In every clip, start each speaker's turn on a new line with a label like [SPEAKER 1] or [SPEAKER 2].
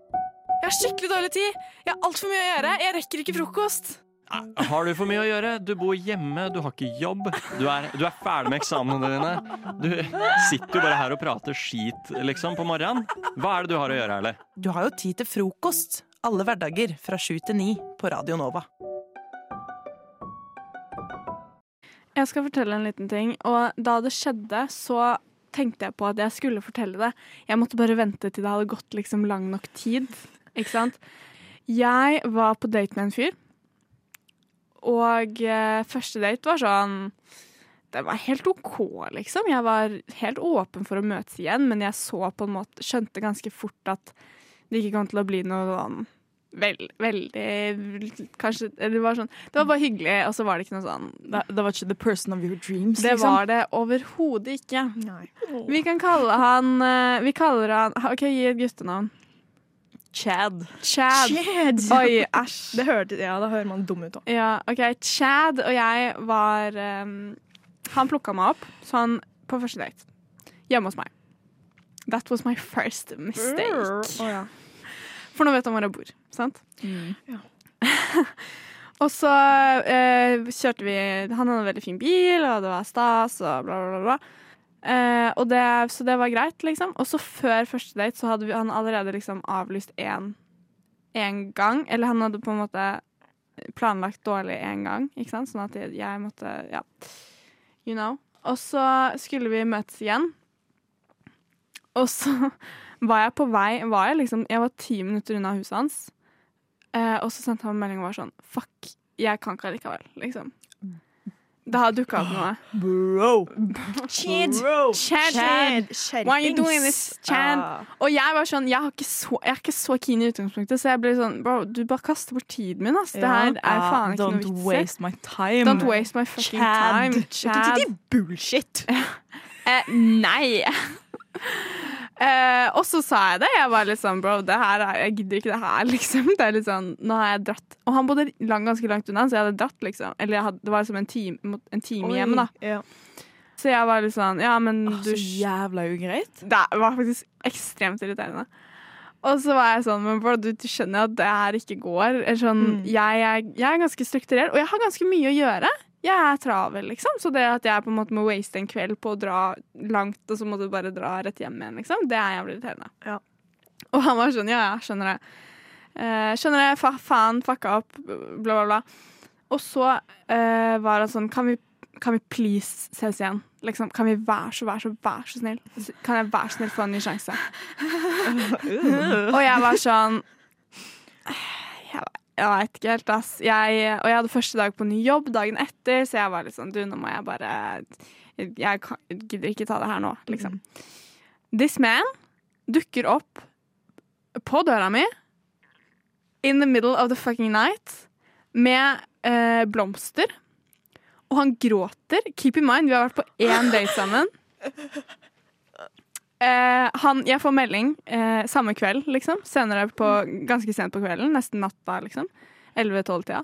[SPEAKER 1] Jeg har skikkelig dårlig tid. Jeg har altfor mye å gjøre. Jeg rekker ikke frokost.
[SPEAKER 2] Nei, Har du for mye å gjøre? Du bor hjemme, du har ikke jobb. Du er, du er ferdig med eksamene dine. Du sitter jo bare her og prater skit, liksom, på morgenen. Hva er det du har å gjøre, Erle?
[SPEAKER 3] Du har jo tid til frokost alle hverdager fra sju til ni på Radio Nova.
[SPEAKER 1] Jeg skal fortelle en liten ting. Og da det skjedde, så tenkte jeg på at jeg skulle fortelle det. Jeg måtte bare vente til det hadde gått liksom lang nok tid. Ikke sant? Jeg var på date med en fyr. Og eh, første date var sånn Det var helt OK, liksom. Jeg var helt åpen for å møtes igjen, men jeg så på en måte Skjønte ganske fort at det ikke kom til å bli noe sånn Vel, veldig Kanskje Eller det var sånn Det var bare hyggelig, og så var det ikke noe sånn
[SPEAKER 4] Det, det var ikke the person of your dreams,
[SPEAKER 1] det
[SPEAKER 4] liksom.
[SPEAKER 1] var det overhodet ikke.
[SPEAKER 4] Nei.
[SPEAKER 1] Vi kan kalle han eh, Vi kaller han OK, gi et guttenavn.
[SPEAKER 4] Chad.
[SPEAKER 1] Chad.
[SPEAKER 4] Chad!
[SPEAKER 1] Oi, æsj.
[SPEAKER 5] Det hørte, ja, da hører man dum ut òg.
[SPEAKER 1] Ja, OK. Chad og jeg var eh, Han plukka meg opp, så han på første date. Hjemme hos meg. That was my first mistake. For nå vet han hvor jeg bor, sant? og så eh, kjørte vi Han hadde en veldig fin bil, og det var stas, og bla, bla, bla. bla. Eh, og det, så det var greit, liksom. Og så før første date så hadde vi, han allerede liksom avlyst én en gang. Eller han hadde på en måte planlagt dårlig én gang, ikke sant? Sånn at jeg, jeg måtte Ja. You know. Og så skulle vi møtes igjen. Og så var jeg på vei var jeg, liksom, jeg var ti minutter unna huset hans. Eh, og så sendte han en melding og var sånn Fuck, jeg kan ikke allikevel, liksom. Det har dukka opp noe.
[SPEAKER 3] Bro!
[SPEAKER 4] Chad!
[SPEAKER 1] Chad, Why are you doing this, Chan?
[SPEAKER 6] Ah.
[SPEAKER 1] Og jeg var sånn, jeg, har ikke så, jeg er ikke så keen i utgangspunktet, så jeg ble sånn Bro, du bare kaster bort tiden min, ass. Det her er faen
[SPEAKER 4] Ah,
[SPEAKER 1] ikke
[SPEAKER 4] Don't
[SPEAKER 1] noe vits
[SPEAKER 4] waste
[SPEAKER 1] i.
[SPEAKER 4] my time.
[SPEAKER 1] Don't waste my fucking
[SPEAKER 4] Chad.
[SPEAKER 1] time. Chad.
[SPEAKER 4] Bullshit!
[SPEAKER 1] Eh, nei. eh, og så sa jeg det. Jeg var litt sånn, bro, det her er, jeg gidder ikke det her, liksom. Det er litt sånn, nå har jeg dratt. Og han bodde lang, ganske langt unna, så jeg hadde dratt, liksom. Eller jeg hadde, det var liksom en time, en time hjemme, da.
[SPEAKER 5] Ja.
[SPEAKER 1] Så jeg var litt sånn, ja, men du
[SPEAKER 4] Så jævla ugreit.
[SPEAKER 1] det var faktisk ekstremt irriterende. Og så var jeg sånn, men bro, du, du skjønner jo at det her ikke går. Eller sånn,
[SPEAKER 4] Mm.
[SPEAKER 1] jeg, er- jeg er ganske strukturert, og jeg har ganske mye å gjøre. Jeg er travel, liksom. Så det at jeg på en måte må waste en kveld på å dra langt, og så må du bare dra rett hjem igjen, liksom, det er jævlig irriterende.
[SPEAKER 5] Ja.
[SPEAKER 1] Og han var sånn, ja, ja, skjønner det. Eh, skjønner det, fa faen, fucka opp, bla, bla, bla. Og så eh, var han sånn, kan vi, kan vi please ses igjen? Liksom, kan vi være så, være så, være så snill? Kan jeg være så snill få en ny sjanse? og jeg var sånn Jeg, jeg veit ikke helt, ass. Jeg, og jeg hadde første dag på ny jobb dagen etter, så jeg var litt sånn Du, nå må jeg bare Jeg kan, gidder ikke ta det her nå, liksom. This man dukker opp på døra mi in the middle of the fucking night med eh, blomster. Og han gråter. Keep in mind, vi har vært på én date sammen. Eh, han, jeg får melding eh, samme kveld, liksom. Senere på, ganske sent på kvelden. Nesten natta, liksom. 11-12-tida.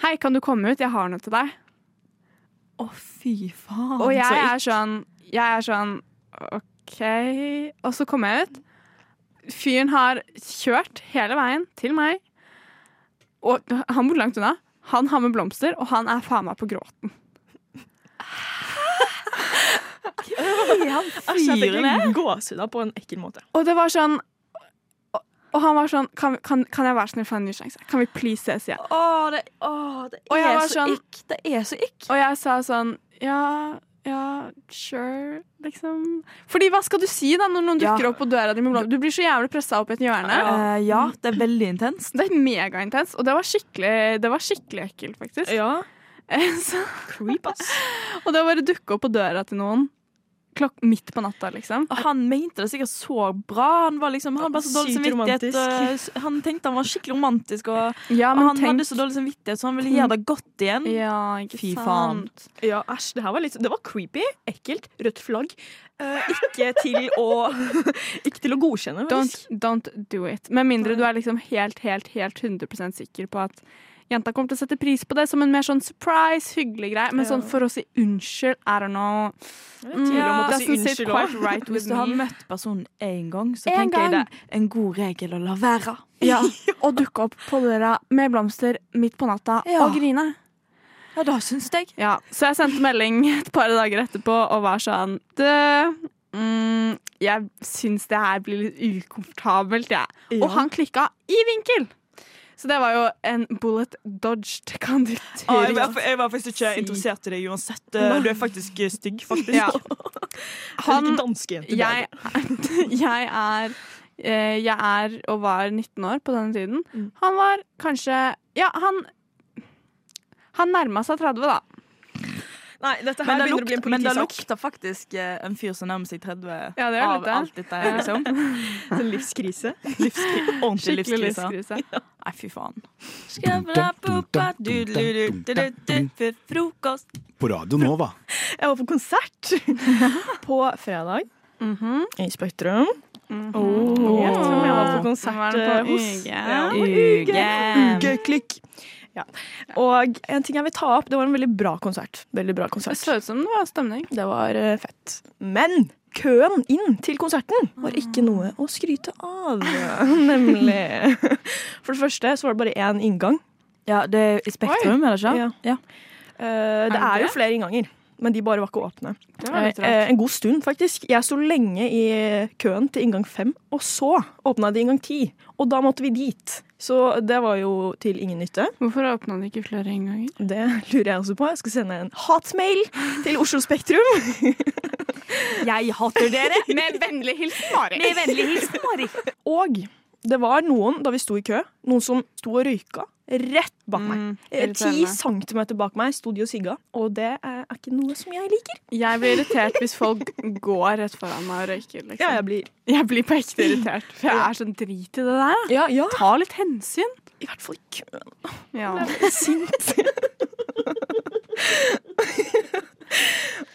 [SPEAKER 1] Hei, kan du komme ut? Jeg har noe til deg.
[SPEAKER 4] Å, fy faen.
[SPEAKER 1] Og jeg
[SPEAKER 4] så
[SPEAKER 1] er sånn Jeg er sånn OK. Og så kom jeg ut. Fyren har kjørt hele veien til meg. Og han bor langt unna. Han har med blomster, og han er faen meg på gråten.
[SPEAKER 5] Æsj, jeg fikk
[SPEAKER 4] fyren
[SPEAKER 5] litt gåsehud på en ekkel måte.
[SPEAKER 1] Og det var sånn og- Og han var sånn Kan, kan, kan jeg være snill få en ny sjanse? Kan vi please ses igjen?
[SPEAKER 4] Å, det, å, det
[SPEAKER 1] Og jeg
[SPEAKER 4] er
[SPEAKER 1] var
[SPEAKER 4] så
[SPEAKER 1] sånn-
[SPEAKER 4] ikk. Det er så ikk.
[SPEAKER 1] Og jeg sa sånn Ja, ja, sure, liksom. Fordi hva skal du si da når noen
[SPEAKER 4] Ja.
[SPEAKER 1] dukker opp på døra di med blomster? Du blir så jævlig pressa opp i et hjørne.
[SPEAKER 4] Eh, ja, det er veldig intenst.
[SPEAKER 1] Det er megaintens, og det var skikkelig, det var skikkelig ekkelt, faktisk. Eh,
[SPEAKER 5] Ja.
[SPEAKER 1] Så,
[SPEAKER 5] Creep, ass.
[SPEAKER 1] og det å bare dukke opp på døra til noen klokk midt på natta, liksom.
[SPEAKER 4] Han mente det sikkert så bra. Han var liksom, han var så dårlig
[SPEAKER 5] Sykt
[SPEAKER 4] samvittighet.
[SPEAKER 5] romantisk.
[SPEAKER 4] og Han tenkte han var skikkelig romantisk, og,
[SPEAKER 1] Ja,
[SPEAKER 4] og han hadde så dårlig samvittighet, så han ville gjøre det godt igjen.
[SPEAKER 1] Ja, ikke
[SPEAKER 4] Fy faen.
[SPEAKER 1] sant.
[SPEAKER 5] Ja, æsj. Det her var litt Det var creepy. Ekkelt. Rødt flagg. Eh, ikke til å Ikke til å godkjenne,
[SPEAKER 1] Don't,
[SPEAKER 5] faktisk.
[SPEAKER 1] don't do it. Med mindre du er liksom helt, helt, helt 100 sikker på at
[SPEAKER 6] jenta kommer til å sette pris på det som en mer sånn surprise, hyggelig greie. Men sånn for å si unnskyld, I don't know. Mm,
[SPEAKER 7] om å
[SPEAKER 6] doesn't
[SPEAKER 7] si
[SPEAKER 6] sit
[SPEAKER 7] unnskyld
[SPEAKER 6] quite right
[SPEAKER 7] Hvis
[SPEAKER 6] with
[SPEAKER 7] du har
[SPEAKER 6] me.
[SPEAKER 7] møtt personen én gang, så
[SPEAKER 6] En
[SPEAKER 7] tenker jeg
[SPEAKER 6] gang.
[SPEAKER 7] det er en god regel å la være.
[SPEAKER 6] Ja, og dukke opp på døra med blomster midt på natta
[SPEAKER 7] Ja.
[SPEAKER 6] og grine.
[SPEAKER 7] Ja, da syns jeg.
[SPEAKER 6] Ja, så jeg sendte melding et par dager etterpå og var sånn Du, mm, jeg syns det her blir litt ukomfortabelt, jeg. Og han klikka i vinkel! Så det var jo en bullet dodged, kan du
[SPEAKER 1] Ah,
[SPEAKER 6] tro.
[SPEAKER 1] jeg, var, jeg var faktisk ikke
[SPEAKER 6] Si.
[SPEAKER 1] interessert i deg uansett. Eh, Du er faktisk eh, stygg, faktisk.
[SPEAKER 6] Ja.
[SPEAKER 1] Jeg
[SPEAKER 6] Han
[SPEAKER 1] liker danske jenter
[SPEAKER 6] jeg, jeg er eh, Jeg er og var 19 år på denne tiden. Han var kanskje Ja, han Han nærma seg 30, da.
[SPEAKER 1] bedre. Nei, dette her
[SPEAKER 7] Men det,
[SPEAKER 1] begynner å bli en
[SPEAKER 7] lukter, men det
[SPEAKER 1] politisak.
[SPEAKER 7] lukter faktisk eh, en fyr som nærmer seg 30
[SPEAKER 6] Ja, det gjør
[SPEAKER 7] av
[SPEAKER 6] det.
[SPEAKER 7] alt dette. her, Liksom.
[SPEAKER 1] Det er livskrise. Livskri- Ordentlig
[SPEAKER 6] Skikkelig
[SPEAKER 1] livskrise.
[SPEAKER 6] livskrise.
[SPEAKER 7] Nei, fy faen.
[SPEAKER 8] Frokost.
[SPEAKER 9] På Radio Nova.
[SPEAKER 1] Jeg var på konsert på fredag
[SPEAKER 6] Mhm.
[SPEAKER 1] i Spektrum.
[SPEAKER 6] Mhm.
[SPEAKER 1] Jeg tror jeg Oh. var på
[SPEAKER 6] Han var
[SPEAKER 1] konsert
[SPEAKER 6] på
[SPEAKER 1] eh, hos
[SPEAKER 6] UG.
[SPEAKER 1] Ja, på
[SPEAKER 7] Uge.
[SPEAKER 1] UG. Klikk. Ja. Og en ting jeg vil ta opp, det var en veldig bra konsert. Veldig bra
[SPEAKER 6] Det
[SPEAKER 1] konsert.
[SPEAKER 6] så ut som det var stemning.
[SPEAKER 1] Det var eh, fett. Men køen inn til konserten var ikke noe å skryte av. Ah. Nemlig. For det første så var det bare én inngang.
[SPEAKER 7] Ja, det er i Spektrum, er det ikke?
[SPEAKER 1] Ja.
[SPEAKER 7] Ja.
[SPEAKER 1] Eh, det
[SPEAKER 6] det
[SPEAKER 1] er jo
[SPEAKER 6] det?
[SPEAKER 1] flere innganger, men de bare var ikke åpne.
[SPEAKER 6] var litt
[SPEAKER 1] Eh, en god stund, faktisk. Jeg sto lenge i køen til inngang fem, og så åpna de inngang ti. Og da måtte vi dit. Så det var jo til ingen nytte.
[SPEAKER 6] Hvorfor åpna de ikke flere innganger?
[SPEAKER 1] Det lurer jeg også på. Jeg skal sende en hatmail til Oslo Spektrum.
[SPEAKER 7] Jeg hater dere!
[SPEAKER 6] Med vennlig hilsen Mari.
[SPEAKER 7] Med vennlig hilsen Mari.
[SPEAKER 1] Og det var noen, da vi sto i kø, noen som sto og røyka rett bak meg.
[SPEAKER 6] Mm,
[SPEAKER 1] Eh, Ti
[SPEAKER 6] irriterende.
[SPEAKER 1] centimeter bak meg sto de og sigga, og det er er ikke noe som jeg liker.
[SPEAKER 6] jeg blir irritert hvis folk går rett foran meg og røyker. Liksom.
[SPEAKER 1] Ja,
[SPEAKER 6] jeg,
[SPEAKER 1] jeg blir
[SPEAKER 6] blir... på ekte irritert, for jeg er sånn drit i det der.
[SPEAKER 1] ja, ja.
[SPEAKER 6] Ta litt hensyn.
[SPEAKER 1] I hvert fall i køen.
[SPEAKER 6] Ja.
[SPEAKER 1] Jeg ble sint.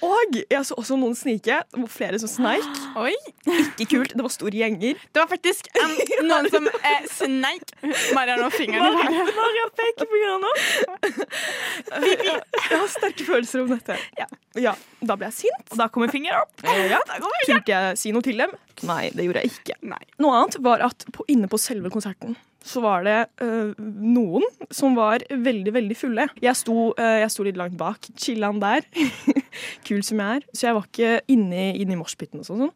[SPEAKER 1] og jeg så også noen snike. Det var flere som sneik.
[SPEAKER 6] Oi.
[SPEAKER 1] Ikke kult. Det var store gjenger.
[SPEAKER 6] Det var faktisk en- noen som eh, sneik Mari har nå fingeren i været.
[SPEAKER 1] Maria peker på grønna. Jeg har sterke følelser om dette. Ja, ja Da ble jeg sint.
[SPEAKER 7] Og da kommer fingeren opp.
[SPEAKER 1] Eh, Ja, Turte jeg si noe til dem? Nei, det gjorde jeg ikke.
[SPEAKER 6] Nei.
[SPEAKER 1] Noe annet var at på, inne på selve konserten så var det eh, noen som var veldig, veldig fulle. Jeg sto, eh, jeg sto litt langt bak. Chilla'n der. Kul som jeg er. Så jeg var ikke inne, inne i moshpiten og sånn.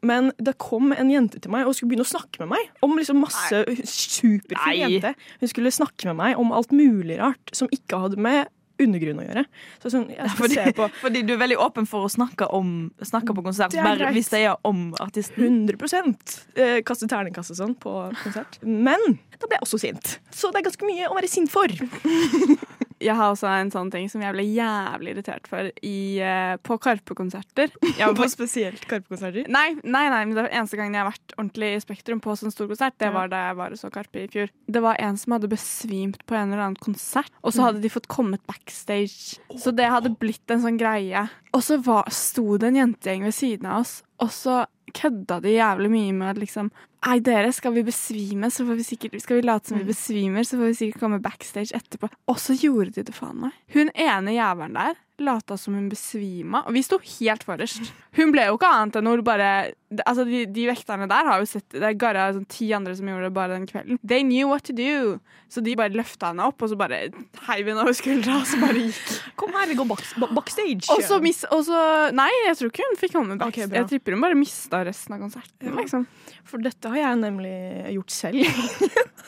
[SPEAKER 1] Men det kom en jente til meg og skulle begynne å snakke med meg om liksom masse superfull
[SPEAKER 7] Nei.
[SPEAKER 1] jente. Hun skulle snakke med meg om alt mulig rart som ikke hadde med undergrunn å gjøre. Så sånn, jeg skal
[SPEAKER 7] fordi-
[SPEAKER 1] se på
[SPEAKER 7] Fordi du er veldig åpen for å snakke, om, snakke på konsert,
[SPEAKER 1] Det er
[SPEAKER 7] bare
[SPEAKER 1] greit.
[SPEAKER 7] hvis det er om artisten.
[SPEAKER 1] 100 eh, kaste terningkast og sånn på konsert. Men da ble jeg også sint. Så det er ganske mye å være sint for.
[SPEAKER 6] Jeg har også en sånn ting som jeg ble jævlig irritert for i, eh, på Karpe-konserter. Jeg var på
[SPEAKER 1] spesielt Karpe-konserter.
[SPEAKER 6] Nei, nei, nei, men det var eneste gangen jeg har vært ordentlig i Spektrum på sånn stor konsert, det var da jeg var og så Karpe i fjor. Det var en som hadde besvimt på en eller annen konsert, og
[SPEAKER 4] Mm.
[SPEAKER 6] så hadde de fått kommet backstage. Så det hadde blitt en sånn greie. Og så var, sto det en jentegjeng ved siden av oss, og så kødda de jævlig mye med at liksom Nei, dere, skal vi besvime, så får vi sikkert Skal vi late som vi besvimer, så får vi sikkert komme backstage etterpå. Og så gjorde de det faen meg. Hun ene jævelen der lata som hun besvima, og vi sto helt forrest. Hun ble jo ikke annet enn hun bare Altså, de, de vekterne der har jo sett Det er garra sånn ti andre som gjorde det bare den kvelden. They knew what to do. Så de bare løfta henne opp, og så bare heiv henne over skuldra, og så bare gikk.
[SPEAKER 1] Kom her, vi går bak- ba- backstage.
[SPEAKER 6] Og så mis... Og så Nei, jeg tror ikke hun fikk komme back.
[SPEAKER 1] Ok, bra.
[SPEAKER 6] jeg tipper hun bare mista resten av konserten, liksom.
[SPEAKER 1] For dette har jeg nemlig gjort selv.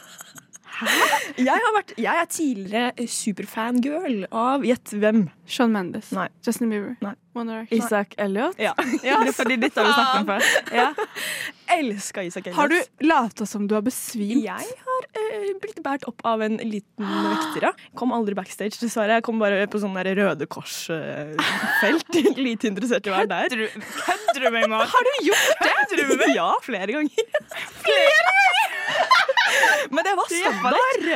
[SPEAKER 1] Jeg, har vært, jeg er tidligere superfangirl av gjett hvem.
[SPEAKER 6] Sean Mendes.
[SPEAKER 1] Nei.
[SPEAKER 6] Justin Bieber.
[SPEAKER 1] Nei.
[SPEAKER 6] One Direction.
[SPEAKER 7] Isak Elliot.
[SPEAKER 1] Ja.
[SPEAKER 7] Det er fordi dette har vi snakket om før. Ja.
[SPEAKER 1] Elska Isak Elliot.
[SPEAKER 6] Har du lata som du har besvimt?
[SPEAKER 1] Jeg har eh, blitt båret opp av en liten vekter. ja. Kom aldri backstage, dessverre. Jeg kom bare på sånn der Røde Kors-felt. Lite interessert i å være der.
[SPEAKER 7] Kødder du meg med?
[SPEAKER 1] Har du gjort det? Ja, flere ganger. Flere ganger! Men det var standard.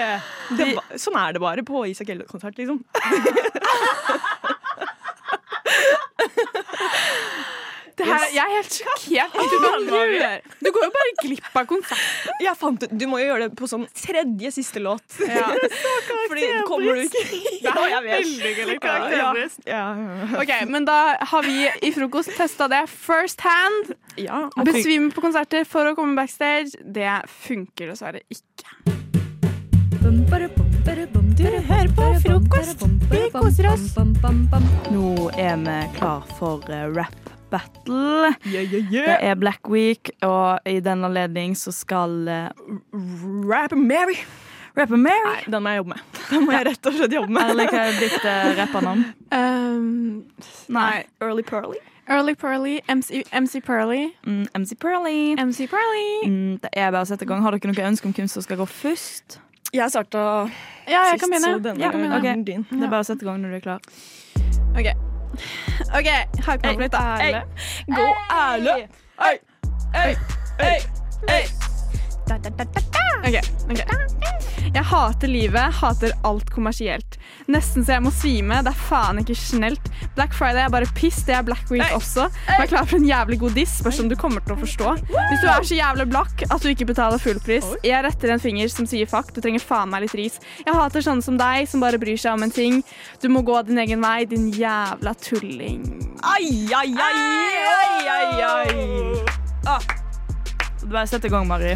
[SPEAKER 1] Det var, sånn er det bare på Isak Elliot-konsert, liksom.
[SPEAKER 6] Det
[SPEAKER 1] her, jeg er helt sjokkert at du bare lurer. Du går jo bare glipp av konsert.
[SPEAKER 10] Jeg fant ut, Du må jo gjøre det på sånn tredje siste låt.
[SPEAKER 1] Ja.
[SPEAKER 10] Fordi kommer du ikke
[SPEAKER 1] Det er veldig gøy karakterbrist.
[SPEAKER 10] ja, ja.
[SPEAKER 1] Ok, men da har vi i frokost testa det first hand.
[SPEAKER 10] ja.
[SPEAKER 1] Besvime på konserter for å komme backstage. Det funker dessverre ikke.
[SPEAKER 7] Du hører på frokost. Vi koser oss.
[SPEAKER 4] Nå er vi klar for eh, rap battle. Det er Black Week, og i den anledning så skal eh,
[SPEAKER 10] Rapper Mary.
[SPEAKER 4] Rapper Mary
[SPEAKER 10] Nei, den må jeg jobbe med. Den må jeg rett og slett jobbe med.
[SPEAKER 4] Eller hva er ditt eh, rappernavn?
[SPEAKER 1] Um, nei.
[SPEAKER 10] Early Pearly.
[SPEAKER 1] Early Pearly, MC, MC Pearly,
[SPEAKER 4] Mm, MC Pearly.
[SPEAKER 1] MC Pearly.
[SPEAKER 4] Mm, det er bare å sette i gang. Har dere noe ønske om hvem som skal gå først?
[SPEAKER 10] Jeg starta
[SPEAKER 1] Ja, jeg
[SPEAKER 10] sist,
[SPEAKER 1] kan
[SPEAKER 10] så
[SPEAKER 1] begynne.
[SPEAKER 10] denne
[SPEAKER 1] Jeg kan
[SPEAKER 7] eh,
[SPEAKER 1] begynne.
[SPEAKER 10] er din.
[SPEAKER 4] Det er bare å sette i gang når du er klar.
[SPEAKER 1] OK, hype meg opp litt. Erle.
[SPEAKER 10] Gå ærlig! Oi, oi, oi, oi.
[SPEAKER 1] Ok, ok. Jeg hater livet, hater alt kommersielt. Nesten så jeg må svime, det er faen ikke snelt. Black Friday er bare piss, det er Black Week også. Vær klar for en jævlig god diss, spørs om du kommer til å forstå. Hvis du er så jævlig blakk at du ikke betaler full pris, jeg retter en finger som sier fuck, du trenger faen meg litt ris. Jeg hater sånne som deg, som bare bryr seg om en ting. Du må gå din egen vei, din jævla tulling.
[SPEAKER 10] Ai, ai, ai, ai, ai.
[SPEAKER 7] Ah.
[SPEAKER 4] Bare sett i gang, Mari.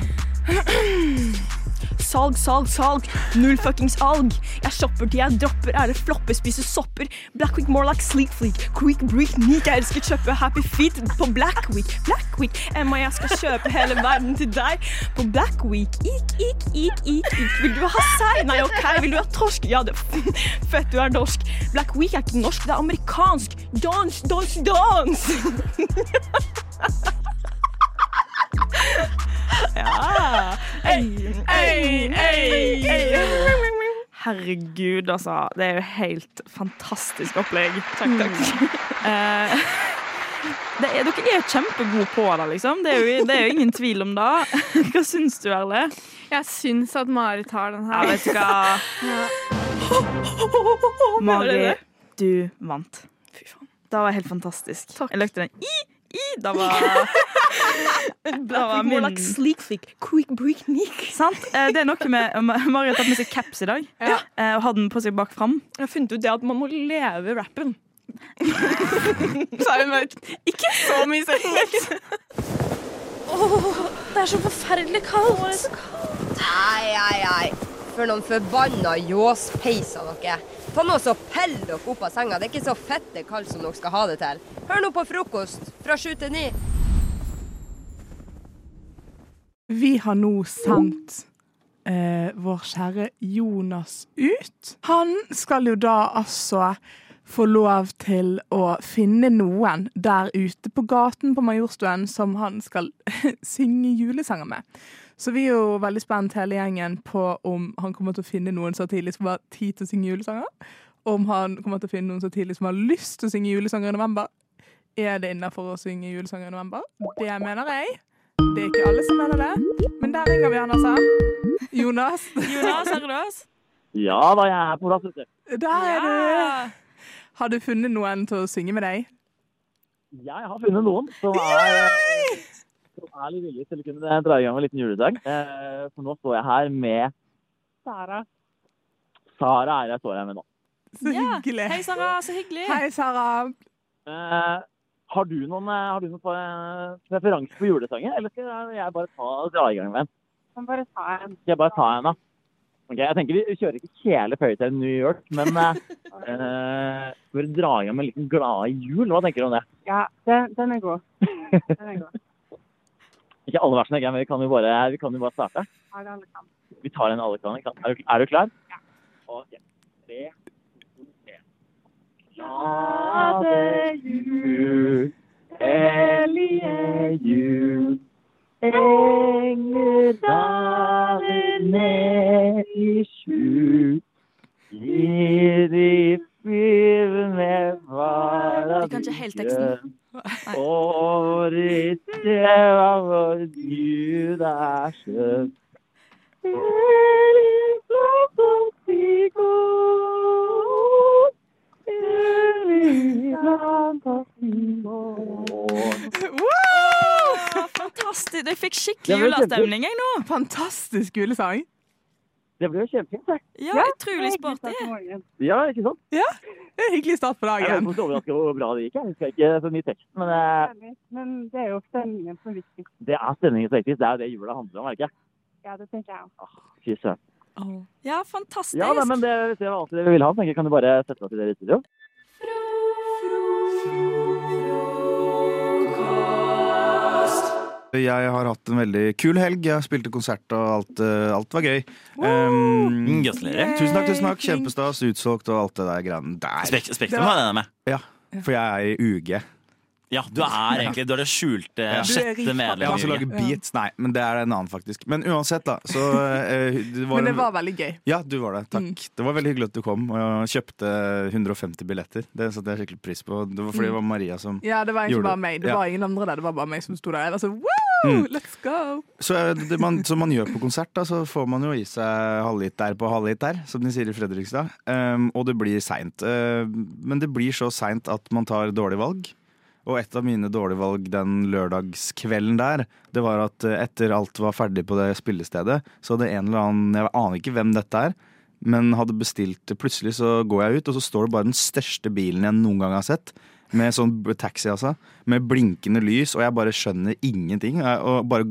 [SPEAKER 10] Salg, salg, salg. Null fuckings alg. Jeg shopper til jeg dropper. Er det flopper, spiser sopper. Black week more like sleek fleek. Quick break neat. Jeg elsker kjøpe happy feet på black week. Black week. Emma, jeg skal kjøpe hele verden til deg på black week. Ik, ik, ik, ik, ik. Vil du ha sei? Nei, OK. Vil du ha torsk? Ja, det fett du er norsk. Black week er ikke norsk, det er amerikansk. Dans, dans, dans. ja. Ei.
[SPEAKER 1] Ei, ei, ei.
[SPEAKER 4] Herregud, altså. Det er jo helt fantastisk opplegg.
[SPEAKER 10] Takk, takk.
[SPEAKER 4] Eh, det er, dere er kjempegode på det, liksom. Det er jo, det er jo ingen tvil om det. Hva syns du, Erle?
[SPEAKER 1] Jeg syns at Marit har den
[SPEAKER 4] Jeg
[SPEAKER 1] her.
[SPEAKER 4] vet ikke hva. Mari, du vant.
[SPEAKER 10] Fy faen.
[SPEAKER 4] Det var helt fantastisk. Jeg løkte den i, i. Det var, det
[SPEAKER 10] More
[SPEAKER 4] var min
[SPEAKER 10] like sleek flick, quick break nick.
[SPEAKER 4] Sant? Eh, Det er noe med Mari har tatt med seg caps i dag
[SPEAKER 1] Ja.
[SPEAKER 4] eh, og hadde den på seg bak fram.
[SPEAKER 10] Jeg har funnet ut det at man må leve rappen.
[SPEAKER 1] Så er hun bare Ikke så mye selvtillit.
[SPEAKER 11] Ei, ei, ei. For noen forbanna ljåspeiser dere. Ta nå så pell dere opp av senga. Det er ikke så fette kaldt som dere skal ha det til. Hør nå på frokost fra sju til ni.
[SPEAKER 12] Vi har nå sendt eh, vår kjære Jonas ut. Han skal jo da altså få lov til å finne noen der ute på gaten på Majorstuen som han skal synge julesanger med. Så vi er jo veldig spent hele gjengen på om han kommer til å finne noen så tidlig som har tid til å synge julesanger. Om han kommer til å finne noen så tidlig som har lyst til å synge julesanger i november. Er det innafor å synge julesanger i november? Det mener jeg. Det er ikke alle som mener det, men der ringer vi han, altså. Jonas,
[SPEAKER 4] Jonas, hører du oss?
[SPEAKER 13] Ja da, jeg er på plass, vet du.
[SPEAKER 12] der er du! Har du funnet noen til å synge med deg?
[SPEAKER 13] Jeg har funnet noen som er, som er litt villige til å kunne dra i gang en liten juledag. Eh, For nå står jeg her med Sara. Sara er jeg står her med nå.
[SPEAKER 12] Så hyggelig.
[SPEAKER 4] Hei, Sara. Så hyggelig.
[SPEAKER 12] Hei, Sara.
[SPEAKER 13] Eh, Har du noen, eh, har du noen eh, preferanser på julesanger, eller skal jeg bare ta, dra i gang med en? Skal jeg bare ta en, da? Ok, jeg tenker Vi kjører ikke hele føyet til New York, men eh, eh, skal vi dra i gang med en liten glade jul? Hva tenker du om det? Ikke alle versene, ikke, men vi kan jo bare, vi kan jo bare starte. Vi tar en alle kan. ikke sant? Er du, er du klar? Ja. Ok. Tre, to, tre. Glade jul, hellige jul. Engler daler ned i skjul. I de fyrne var
[SPEAKER 4] Vi kan ikke helt teksten.
[SPEAKER 13] Årets djeva vår Gud er skjønn. Hellig flott og fri god. Evig land og fri vår.
[SPEAKER 4] Fantastisk. Jeg fikk
[SPEAKER 12] Det
[SPEAKER 4] skikkelig
[SPEAKER 12] var kjempe-
[SPEAKER 4] julestemning jeg nå.
[SPEAKER 12] Fantastisk julesang.
[SPEAKER 13] Det blir jo kjempefint, det.
[SPEAKER 4] Ja, utrolig sporty.
[SPEAKER 13] Ja, ikke sant?
[SPEAKER 12] Ja, det er en hyggelig start på
[SPEAKER 13] Jeg er
[SPEAKER 12] dagen.
[SPEAKER 13] overrasket over hvor bra det gikk. Jeg husker ikke så mye tekst, men eh,
[SPEAKER 14] Men det er jo stemningen som er viktig.
[SPEAKER 13] det er stemningen som er viktigst. Det er jo det jula handler om, er det ikke?
[SPEAKER 14] Ja, det tenker jeg også.
[SPEAKER 13] Fy søren.
[SPEAKER 4] Ja, fantastisk.
[SPEAKER 13] Ja, nei, men det, hvis det var alt dere ville ha, så tenker jeg kan du bare sette deg til dere i studio.
[SPEAKER 9] Jeg har hatt en veldig kul helg. Jeg spilte konsert, og alt, eh, alt var gøy. Um,
[SPEAKER 15] Mm, Gratulerer.
[SPEAKER 9] Tusen takk. tusen takk Kjempestas, utsolgt og alt det der greiene der.
[SPEAKER 15] Spek Spektrum har jeg med.
[SPEAKER 9] Ja, for jeg er i UG.
[SPEAKER 15] Ja, du er egentlig Du er det skjulte
[SPEAKER 9] Ja.
[SPEAKER 15] sjette medlemmet.
[SPEAKER 9] Jeg har også laget beats, nei, men det er en annen, faktisk. Men uansett, da. Så, eh, det var
[SPEAKER 12] Men det
[SPEAKER 9] en-
[SPEAKER 12] var Mm. veldig gøy.
[SPEAKER 9] Ja, du var det. Takk. Det var veldig hyggelig at du kom og kjøpte 150 billetter. Det satte jeg skikkelig pris på. Det var fordi det var Maria som
[SPEAKER 12] Mm. Ja, det var egentlig
[SPEAKER 9] gjorde
[SPEAKER 12] bare meg. Det
[SPEAKER 9] Ja.
[SPEAKER 12] var ingen andre der. Det var bare meg som sto der. Jeg var sånn woo,
[SPEAKER 9] Mm.
[SPEAKER 12] let's go!
[SPEAKER 9] Så eh, det man, som man gjør på konsert, da, så får man jo i seg halvlitt der på halvlitt der, som de sier i Fredrikstad. Ehm, og det blir seint. Ehm, men det blir så seint at man tar dårlige valg. Og et av mine dårlige valg den lørdagskvelden der, det var at eh, etter alt var ferdig på det spillestedet, så hadde en eller annen, jeg aner ikke hvem dette er, men hadde bestilt Plutselig så går jeg ut, og så står det bare den største bilen jeg noen gang har sett. Med sånn b- taxi, altså. Med blinkende lys, og jeg bare skjønner ingenting. jeg- Og bare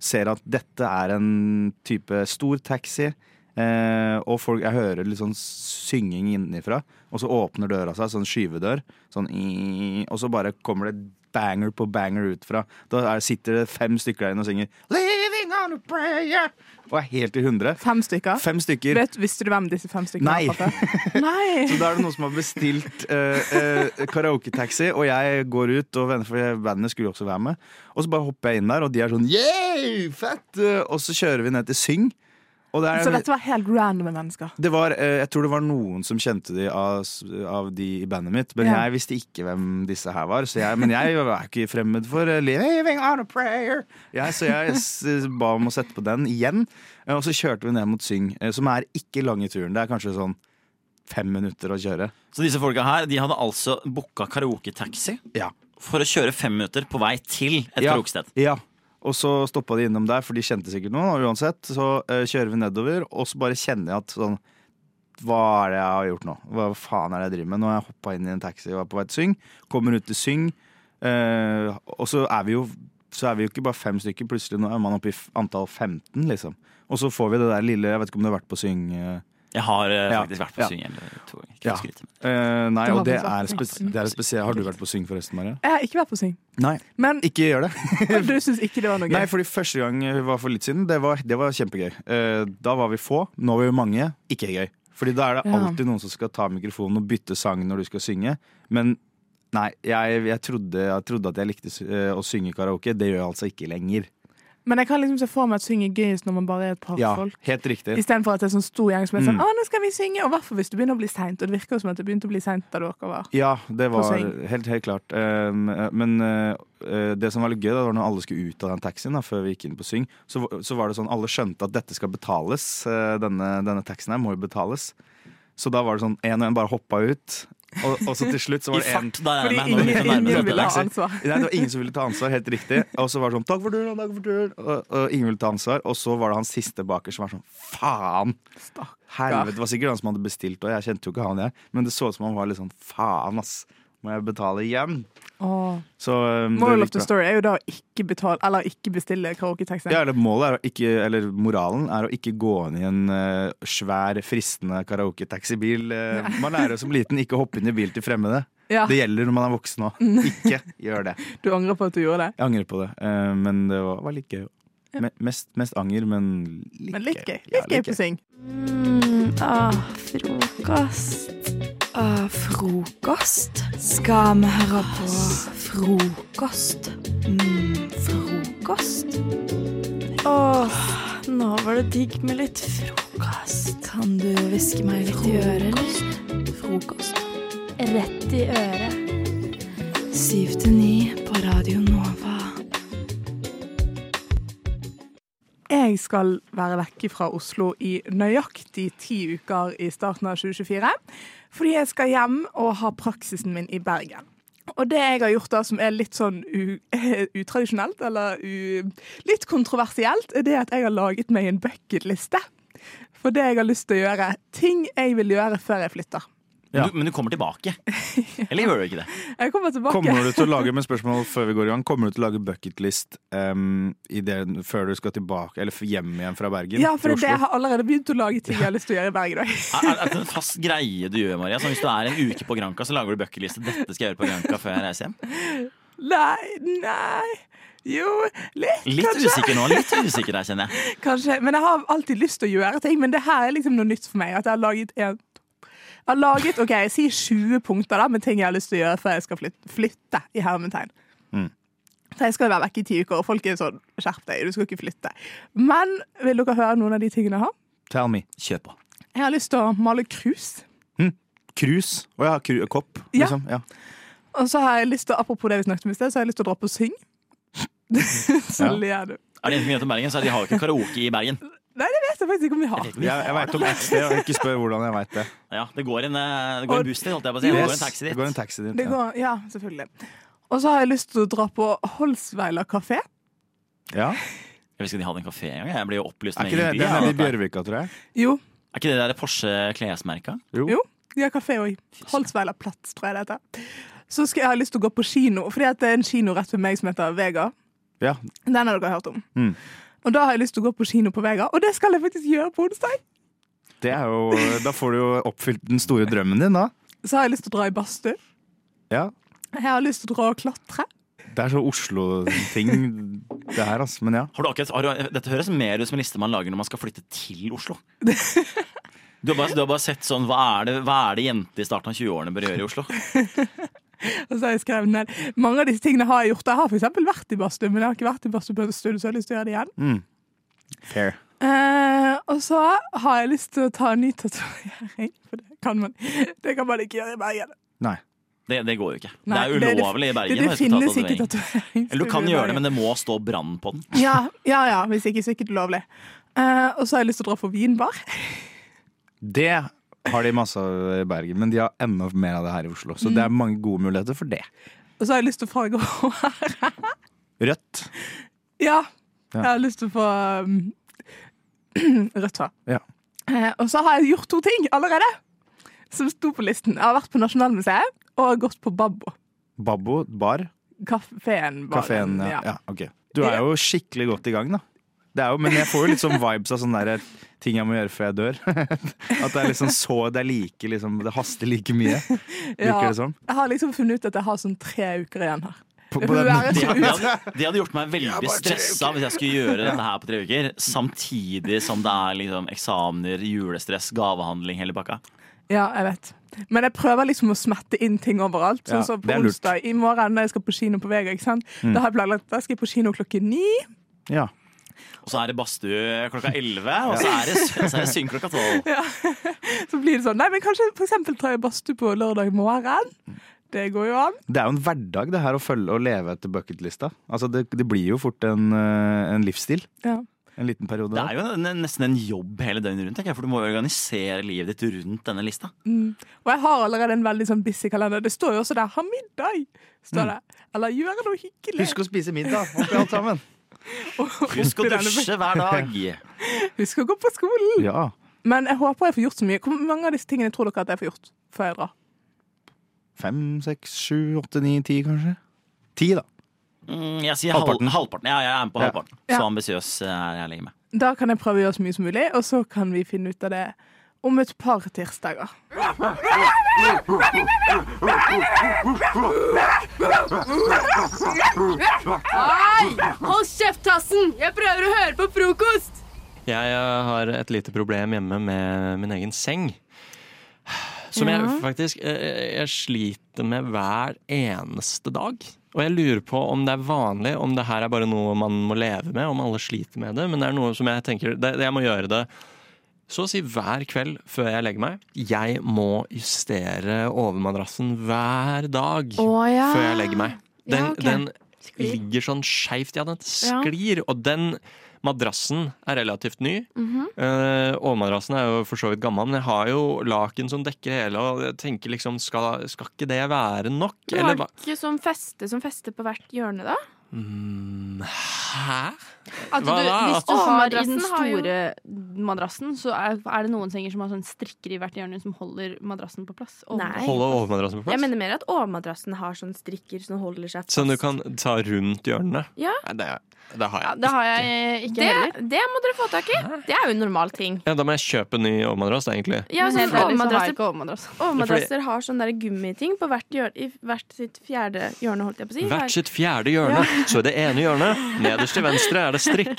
[SPEAKER 9] ser at dette er en type stor taxi. Eh, og folk, jeg hører litt sånn synging innenfra. Og så åpner døra seg, sånn skyvedør. Sånn, i- og så bare kommer det banger på banger ut fra. Da er, sitter det fem stykker der inne og synger. Living on a prayer Og er helt i hundre.
[SPEAKER 12] Fem stykker?
[SPEAKER 9] Fem stykker.
[SPEAKER 12] Vet, visste du hvem disse fem stykkene
[SPEAKER 9] Nei.
[SPEAKER 12] var? Petter? Nei.
[SPEAKER 9] Så da er det noen som har bestilt eh, eh, karaoke-taxi, og jeg går ut, og venner for bandet skulle jo også være med. Og så bare hopper jeg inn der, og de er sånn yeah, fett! eh», Og så kjører vi ned til Syng. Og det, er,
[SPEAKER 12] Så dette var helt random mennesker.
[SPEAKER 9] det var eh, Jeg tror det var noen som kjente de av, s- av de i bandet mitt, men
[SPEAKER 12] Ja.
[SPEAKER 9] jeg visste ikke hvem disse her var. Så jeg, men jeg var ikke fremmed for eh, Living on a prayer. Ja, så jeg s- ba om å sette på den igjen, eh, og så kjørte vi ned mot Syng, eh, som er ikke lang i turen. Det er kanskje sånn fem minutter å kjøre.
[SPEAKER 15] Så disse folka her de hadde altså booka karaoketaxi for å kjøre fem minutter på vei til et
[SPEAKER 9] Ja.
[SPEAKER 15] karaokested.
[SPEAKER 9] Ja. Og så stoppa de innom der, for de kjente sikkert noen. Og uansett så eh, kjører vi nedover, og så bare kjenner jeg at sånn Hva er det jeg har gjort nå? Hva faen er det jeg driver med? Nå har jeg hoppa inn i en taxi og er på vei til Syng. Kommer ut til Syng, eh, og så er vi jo så er vi jo ikke bare fem stykker. Plutselig nå er man oppe i f- antall 15, liksom. Og så får vi det der lille Jeg vet ikke om du har vært på Syng? eh,
[SPEAKER 15] Jeg har eh,
[SPEAKER 9] Ja.
[SPEAKER 15] faktisk vært på
[SPEAKER 9] Ja.
[SPEAKER 15] Syng eller to ganger. Ikke
[SPEAKER 9] ja.
[SPEAKER 15] skryt.
[SPEAKER 9] Eh, nei,
[SPEAKER 12] Du har
[SPEAKER 9] og det
[SPEAKER 12] faktisk vært
[SPEAKER 9] er,
[SPEAKER 12] på
[SPEAKER 9] spes
[SPEAKER 12] Syng.
[SPEAKER 9] det er spesielt. Har du vært på Syng forresten, Maria?
[SPEAKER 12] Jeg har ikke vært på Syng.
[SPEAKER 9] Nei. ikke gjør det.
[SPEAKER 12] Men du syns ikke det var noe gøy?
[SPEAKER 9] Nei, fordi første gang var for litt siden. Det var, det var kjempegøy. Eh, Da var vi få. Nå er vi mange. Ikke gøy. Fordi da er det
[SPEAKER 12] Ja.
[SPEAKER 9] alltid noen som skal ta mikrofonen og bytte sang når du skal synge. Men nei, jeg, jeg, trodde, jeg trodde at jeg likte sy- eh, å synge karaoke. Det gjør jeg altså ikke lenger.
[SPEAKER 12] Men jeg kan liksom se for meg at syng er gøyest når man bare er et par
[SPEAKER 9] Ja,
[SPEAKER 12] folk.
[SPEAKER 9] helt riktig.
[SPEAKER 12] Istedenfor at det er sånn stor gjeng som er sånn
[SPEAKER 9] Mm.
[SPEAKER 12] Å, nå skal vi synge! Og i hvert fall hvis det begynner å bli seint. Og det virker jo som at det begynte å bli seint da dere var
[SPEAKER 9] Ja, det
[SPEAKER 12] På
[SPEAKER 9] var
[SPEAKER 12] Syng.
[SPEAKER 9] helt, helt klart. Um, eh, Men eh, eh, det som var litt gøy, da, det var når alle skulle ut av den taxien da, før vi gikk inn på Syng, så, v- så var det sånn alle skjønte at dette skal betales. eh, Denne, denne taxien her må jo betales. Så da var det sånn én og én bare hoppa ut. Og, og så til slutt så var
[SPEAKER 15] I
[SPEAKER 9] det
[SPEAKER 15] fart, da regner jeg
[SPEAKER 9] Fordi
[SPEAKER 15] med, når vi kommer nærmere dette.
[SPEAKER 9] taxi. Nei, det var ingen som ville ta ansvar, helt riktig. Og så var det sånn 'takk for turen', takk for turen. Og, og ingen ville ta ansvar. Og så var det han siste baker som var sånn 'faen'. Helvete, det var sikkert han som hadde bestilt, og jeg kjente jo ikke han, jeg. Men det så ut som han var litt sånn 'faen, ass', må jeg betale igjen?
[SPEAKER 12] Åh.
[SPEAKER 9] Så um, det
[SPEAKER 12] Moral
[SPEAKER 9] gikk
[SPEAKER 12] of the
[SPEAKER 9] bra.
[SPEAKER 12] story er jo da å ikke betale Eller ikke bestille karaoketekst.
[SPEAKER 9] Ja, eller målet er å ikke, eller moralen er å ikke gå inn i en eh, svær, fristende karaoketaxibil. Uh, man lærer som liten ikke å hoppe inn i bil til fremmede.
[SPEAKER 12] Ja.
[SPEAKER 9] Det gjelder når man er voksen òg. Ikke gjør det.
[SPEAKER 12] Du angrer på at du gjorde det?
[SPEAKER 9] Jeg angrer på det, eh, men det var, var litt gøy. Me mest, mest anger, men litt
[SPEAKER 12] Men litt gøy.
[SPEAKER 9] Ja,
[SPEAKER 12] Litt gøy
[SPEAKER 9] litt
[SPEAKER 12] på syng.
[SPEAKER 4] Mm, ah, frokost. Ah, frokost. Skal vi høre på frokost? Mm, frokost. Åh, nå var det digg med litt frokost. Kan du hviske meg litt i øret, eller? Frokost. Rett i øret. Syv til ni på Radio Nova.
[SPEAKER 12] Jeg skal være vekk fra Oslo i nøyaktig ti uker i starten av 2024. Fordi jeg skal hjem og ha praksisen min i Bergen. Og det jeg har gjort da, som er litt sånn u utradisjonelt, eller u litt kontroversielt, er det at jeg har laget meg en bucketliste for det jeg har lyst til å gjøre. Ting jeg vil gjøre før jeg flytter.
[SPEAKER 16] Men Du, men du kommer tilbake. Eller gjør du ikke det?
[SPEAKER 12] Jeg kommer tilbake.
[SPEAKER 9] Kommer du til å lage med spørsmål før vi går i gang Kommer du til å lage bucketlist um, i det, før du skal tilbake Eller hjem igjen fra Bergen?
[SPEAKER 12] Ja, for
[SPEAKER 9] til
[SPEAKER 12] det, er det jeg
[SPEAKER 9] Oslo?
[SPEAKER 12] har allerede begynt å lage ting jeg har lyst til å gjøre i Bergen òg.
[SPEAKER 16] Er, er det en fast greie du gjør, Maria? Sånn, hvis du er en uke på Granca, så lager du bucketliste. Dette skal jeg gjøre på Granca før jeg reiser hjem.
[SPEAKER 12] Nei, nei Jo, litt,
[SPEAKER 16] Litt
[SPEAKER 12] kanskje.
[SPEAKER 16] usikker nå. Litt usikker der, kjenner jeg.
[SPEAKER 12] Kanskje, men jeg har alltid lyst til å gjøre ting, men det her er liksom noe nytt for meg. At jeg har laget en jeg har laget, ok, jeg sier 20 punkter da, med ting jeg har lyst til å gjøre før jeg skal flytte, flytte i hermetegn.
[SPEAKER 9] Mm.
[SPEAKER 12] Så jeg skal være vekk i ti uker, og folk er sånn, skjerp deg, du skal ikke flytte. Men vil dere høre noen av de tingene jeg har?
[SPEAKER 9] Tell me.
[SPEAKER 16] Kjør på.
[SPEAKER 12] Jeg har lyst til å male krus.
[SPEAKER 9] Krus. Å ja, kru, kopp,
[SPEAKER 12] Ja.
[SPEAKER 9] liksom. Ja.
[SPEAKER 12] Og så har jeg lyst til, apropos det vi snakket om i sted, så har jeg lyst til å dra på syng. så
[SPEAKER 16] Ja.
[SPEAKER 12] ler du.
[SPEAKER 16] Er det en ting om Bergen, så er det de har jo ikke karaoke i Bergen.
[SPEAKER 12] Nei, det vet jeg faktisk ikke om vi har.
[SPEAKER 9] Jeg, jeg veit om ett sted, og ikke spør hvordan jeg veit det.
[SPEAKER 16] Ja, det går en, eh, det går en buss til, holdt jeg på å si. Det går en taxi dit.
[SPEAKER 9] Det går en taxi dit.
[SPEAKER 12] Det
[SPEAKER 9] Ja.
[SPEAKER 12] går, ja, selvfølgelig. Og så har jeg lyst til å dra på Holsveiler kafé.
[SPEAKER 16] Jeg visste ikke de hadde en kafé engang. Jeg ble jo opplyst
[SPEAKER 9] Er
[SPEAKER 16] med
[SPEAKER 9] ikke det,
[SPEAKER 16] egen by,
[SPEAKER 9] det er
[SPEAKER 16] ja,
[SPEAKER 9] nede i
[SPEAKER 16] dette.
[SPEAKER 9] Bjørvika, tror jeg?
[SPEAKER 12] Jo.
[SPEAKER 16] Er ikke det der Porsche klesmerka?
[SPEAKER 12] Jo, de har kafé òg. Holsveiler Plats, tror jeg det heter. Så skal jeg ha lyst til å gå på kino, fordi at det er en kino rett ved meg som heter Vega.
[SPEAKER 9] Ja.
[SPEAKER 12] Den har dere hørt om.
[SPEAKER 9] Mm.
[SPEAKER 12] Og da har jeg lyst til å gå på kino på Vega, og det skal jeg faktisk gjøre på onsdag.
[SPEAKER 9] Det er jo, da får du jo oppfylt den store drømmen din, da.
[SPEAKER 12] Så har jeg lyst til å dra i badstue.
[SPEAKER 9] Ja.
[SPEAKER 12] Jeg har lyst til å dra og klatre.
[SPEAKER 9] Det er så Oslo-ting, det her, altså. Men ja.
[SPEAKER 16] Har du akkurat, har du, dette høres mer ut som en liste man lager når man skal flytte til Oslo. Du har bare, du har bare sett sånn, hva er, det, hva er det jenter i starten av 20-årene bør gjøre i Oslo?
[SPEAKER 12] Og så har jeg skrevet ned. Mange av disse tingene har jeg gjort. Jeg har f.eks. vært i badstue, men jeg har ikke vært i badstue på en stund, så jeg har lyst til å gjøre det igjen.
[SPEAKER 9] Mm. Fair.
[SPEAKER 12] Eh, og så har jeg lyst til å ta en ny tatovering, for det kan man, det kan man ikke gjøre i Bergen.
[SPEAKER 9] Nei.
[SPEAKER 16] Det, det går jo ikke.
[SPEAKER 12] Nei,
[SPEAKER 16] det er ulovlig i Bergen. å
[SPEAKER 12] Det, det
[SPEAKER 16] ta
[SPEAKER 12] finnes ikke
[SPEAKER 16] tatovering.
[SPEAKER 12] tatovering.
[SPEAKER 16] Eller du kan gjøre det, men det må stå brann på den.
[SPEAKER 12] ja, ja, ja, hvis ikke så er det ikke ulovlig. Eh, og så har jeg lyst til å dra på vinbar.
[SPEAKER 9] Det har de masse av i Bergen, men de har enda mer av det her i Oslo. Så
[SPEAKER 12] Mm.
[SPEAKER 9] det er mange gode muligheter for det.
[SPEAKER 12] Og så har jeg lyst til å farge hår.
[SPEAKER 9] Rødt. Ja.
[SPEAKER 12] Ja, jeg har lyst til å få um, rødt hår.
[SPEAKER 9] Ja.
[SPEAKER 12] Eh, og så har jeg gjort to ting allerede, som sto på listen. Jeg har vært på Nasjonalmuseet og gått på Babbo.
[SPEAKER 9] Babbo bar.
[SPEAKER 12] Kafeen.
[SPEAKER 9] Kafeen. Ja. ja, ok. Du er jo skikkelig godt i gang, da. Det er jo, men jeg får jo litt sånn vibes av sånne der, ting jeg må gjøre før jeg dør. At det er liksom så Det er like, liksom, det haster like mye, virker det som.
[SPEAKER 12] Jeg har liksom funnet ut at jeg har sånn tre uker igjen her.
[SPEAKER 9] På- på
[SPEAKER 12] Jeg får
[SPEAKER 9] den-
[SPEAKER 12] være
[SPEAKER 16] Det
[SPEAKER 12] så
[SPEAKER 16] hadde, det
[SPEAKER 12] ut-
[SPEAKER 16] hadde- det hadde gjort meg veldig stressa hvis jeg skulle gjøre dette her på tre uker. Samtidig som det er liksom eksamener, julestress, gavehandling, hele pakka.
[SPEAKER 12] Ja, jeg vet. Men jeg prøver liksom å smette inn ting overalt. Sånn
[SPEAKER 16] Ja,
[SPEAKER 12] som
[SPEAKER 16] det
[SPEAKER 12] på
[SPEAKER 16] er lurt.
[SPEAKER 12] onsdag i morgen når jeg skal på kino på Vega. ikke sant?
[SPEAKER 16] Mm.
[SPEAKER 12] Da har jeg planlagt da skal jeg på kino klokken ni.
[SPEAKER 9] Ja.
[SPEAKER 16] Og så er det badstue klokka elleve, og så er det, så er det syng klokka tolv.
[SPEAKER 12] Så blir det sånn. Nei, men kanskje for eksempel tar jeg badstue på lørdag morgen. Det går jo an.
[SPEAKER 9] Det er jo en hverdag det her å følge og leve etter bucketlista. Altså, det, det blir jo fort en, eh, en livsstil.
[SPEAKER 12] Ja.
[SPEAKER 9] En liten periode.
[SPEAKER 16] Det er jo en- nesten en jobb hele døgnet rundt, tenker jeg, for du må jo organisere livet ditt rundt denne lista.
[SPEAKER 12] Mm. Og jeg har allerede en veldig sånn busy kalender. Det står jo også der 'ha middag'. står
[SPEAKER 16] Mm.
[SPEAKER 12] det. Eller 'gjøre noe hyggelig'.
[SPEAKER 9] Husk å spise middag oppi alt sammen.
[SPEAKER 16] Husk å dusje hver dag.
[SPEAKER 12] Husk å gå på skolen.
[SPEAKER 9] Ja.
[SPEAKER 12] Men jeg håper jeg får gjort så mye. Hvor mange av disse tingene tror dere at jeg får gjort før jeg drar?
[SPEAKER 9] Fem, seks, sju, åtte, ni, ti, kanskje. Ti, da.
[SPEAKER 16] Mm, Jeg sier halvparten.
[SPEAKER 9] Halvparten.
[SPEAKER 16] halvparten. Ja, jeg er med på
[SPEAKER 9] Ja.
[SPEAKER 16] halvparten.
[SPEAKER 12] Ja.
[SPEAKER 16] Så ambisiøs er jeg lenge med.
[SPEAKER 12] Da kan jeg prøve å gjøre så mye som mulig, og så kan vi finne ut av det om et par tirsdager.
[SPEAKER 7] Hei! Hold kjeft, Tassen! Jeg prøver å høre på frokost!
[SPEAKER 2] Jeg eh, har et lite problem hjemme med min egen seng. Som
[SPEAKER 7] Ja.
[SPEAKER 2] jeg faktisk eh, jeg sliter med hver eneste dag. Og jeg lurer på om det er vanlig, om det her er bare noe man må leve med, om alle sliter med det. Men det er noe som jeg tenker det, det Jeg må gjøre det så å si hver kveld før jeg legger meg. Jeg må justere overmadrassen hver dag
[SPEAKER 7] Å, ja.
[SPEAKER 2] før jeg legger meg. Den,
[SPEAKER 7] Ja, ok.
[SPEAKER 2] den ligger sånn skeivt, ja, den sklir. Og den Madrassen er relativt ny.
[SPEAKER 6] Mhm.
[SPEAKER 2] Eh, Overmadrassen er jo for så vidt gammel, men jeg har jo laken som dekker hele. Og jeg tenker liksom, skal, skal ikke det være nok?
[SPEAKER 6] Du
[SPEAKER 2] Eller
[SPEAKER 6] har
[SPEAKER 2] hva?
[SPEAKER 6] ikke sånn feste som fester på hvert hjørne, da?
[SPEAKER 2] Mm, Hæ?
[SPEAKER 6] At du,
[SPEAKER 2] Hva da?
[SPEAKER 6] hvis du
[SPEAKER 2] At-
[SPEAKER 6] har i den
[SPEAKER 2] Overmadrassen har jo-
[SPEAKER 6] store madrassen, så er, er det noen senger som har sånn strikker i hvert hjørne som holder madrassen på plass.
[SPEAKER 2] Nei. Holder overmadrassen på plass?
[SPEAKER 17] Jeg mener mer at overmadrassen har sånn strikker som holder seg fast.
[SPEAKER 2] Som du kan ta rundt hjørnene?
[SPEAKER 17] Ja.
[SPEAKER 2] Nei, det, det har jeg.
[SPEAKER 17] det har jeg
[SPEAKER 6] ikke
[SPEAKER 17] det,
[SPEAKER 6] heller.
[SPEAKER 17] Det må dere få tak i. Det er jo en normal ting.
[SPEAKER 2] Ja, da må jeg kjøpe ny overmadrass, egentlig.
[SPEAKER 17] Ja,
[SPEAKER 6] Men
[SPEAKER 17] sånn
[SPEAKER 6] helt ærlig så har jeg
[SPEAKER 17] overmadrasser,
[SPEAKER 6] ikke overmadrass.
[SPEAKER 17] overmadrasser har sånn der gummiting på hvert, hjør- i hvert sitt fjerde hjørne, holdt jeg på å si.
[SPEAKER 2] Hvert sitt fjerde hjørne. Så i det ene hjørnet, nederst til venstre, er det strikk.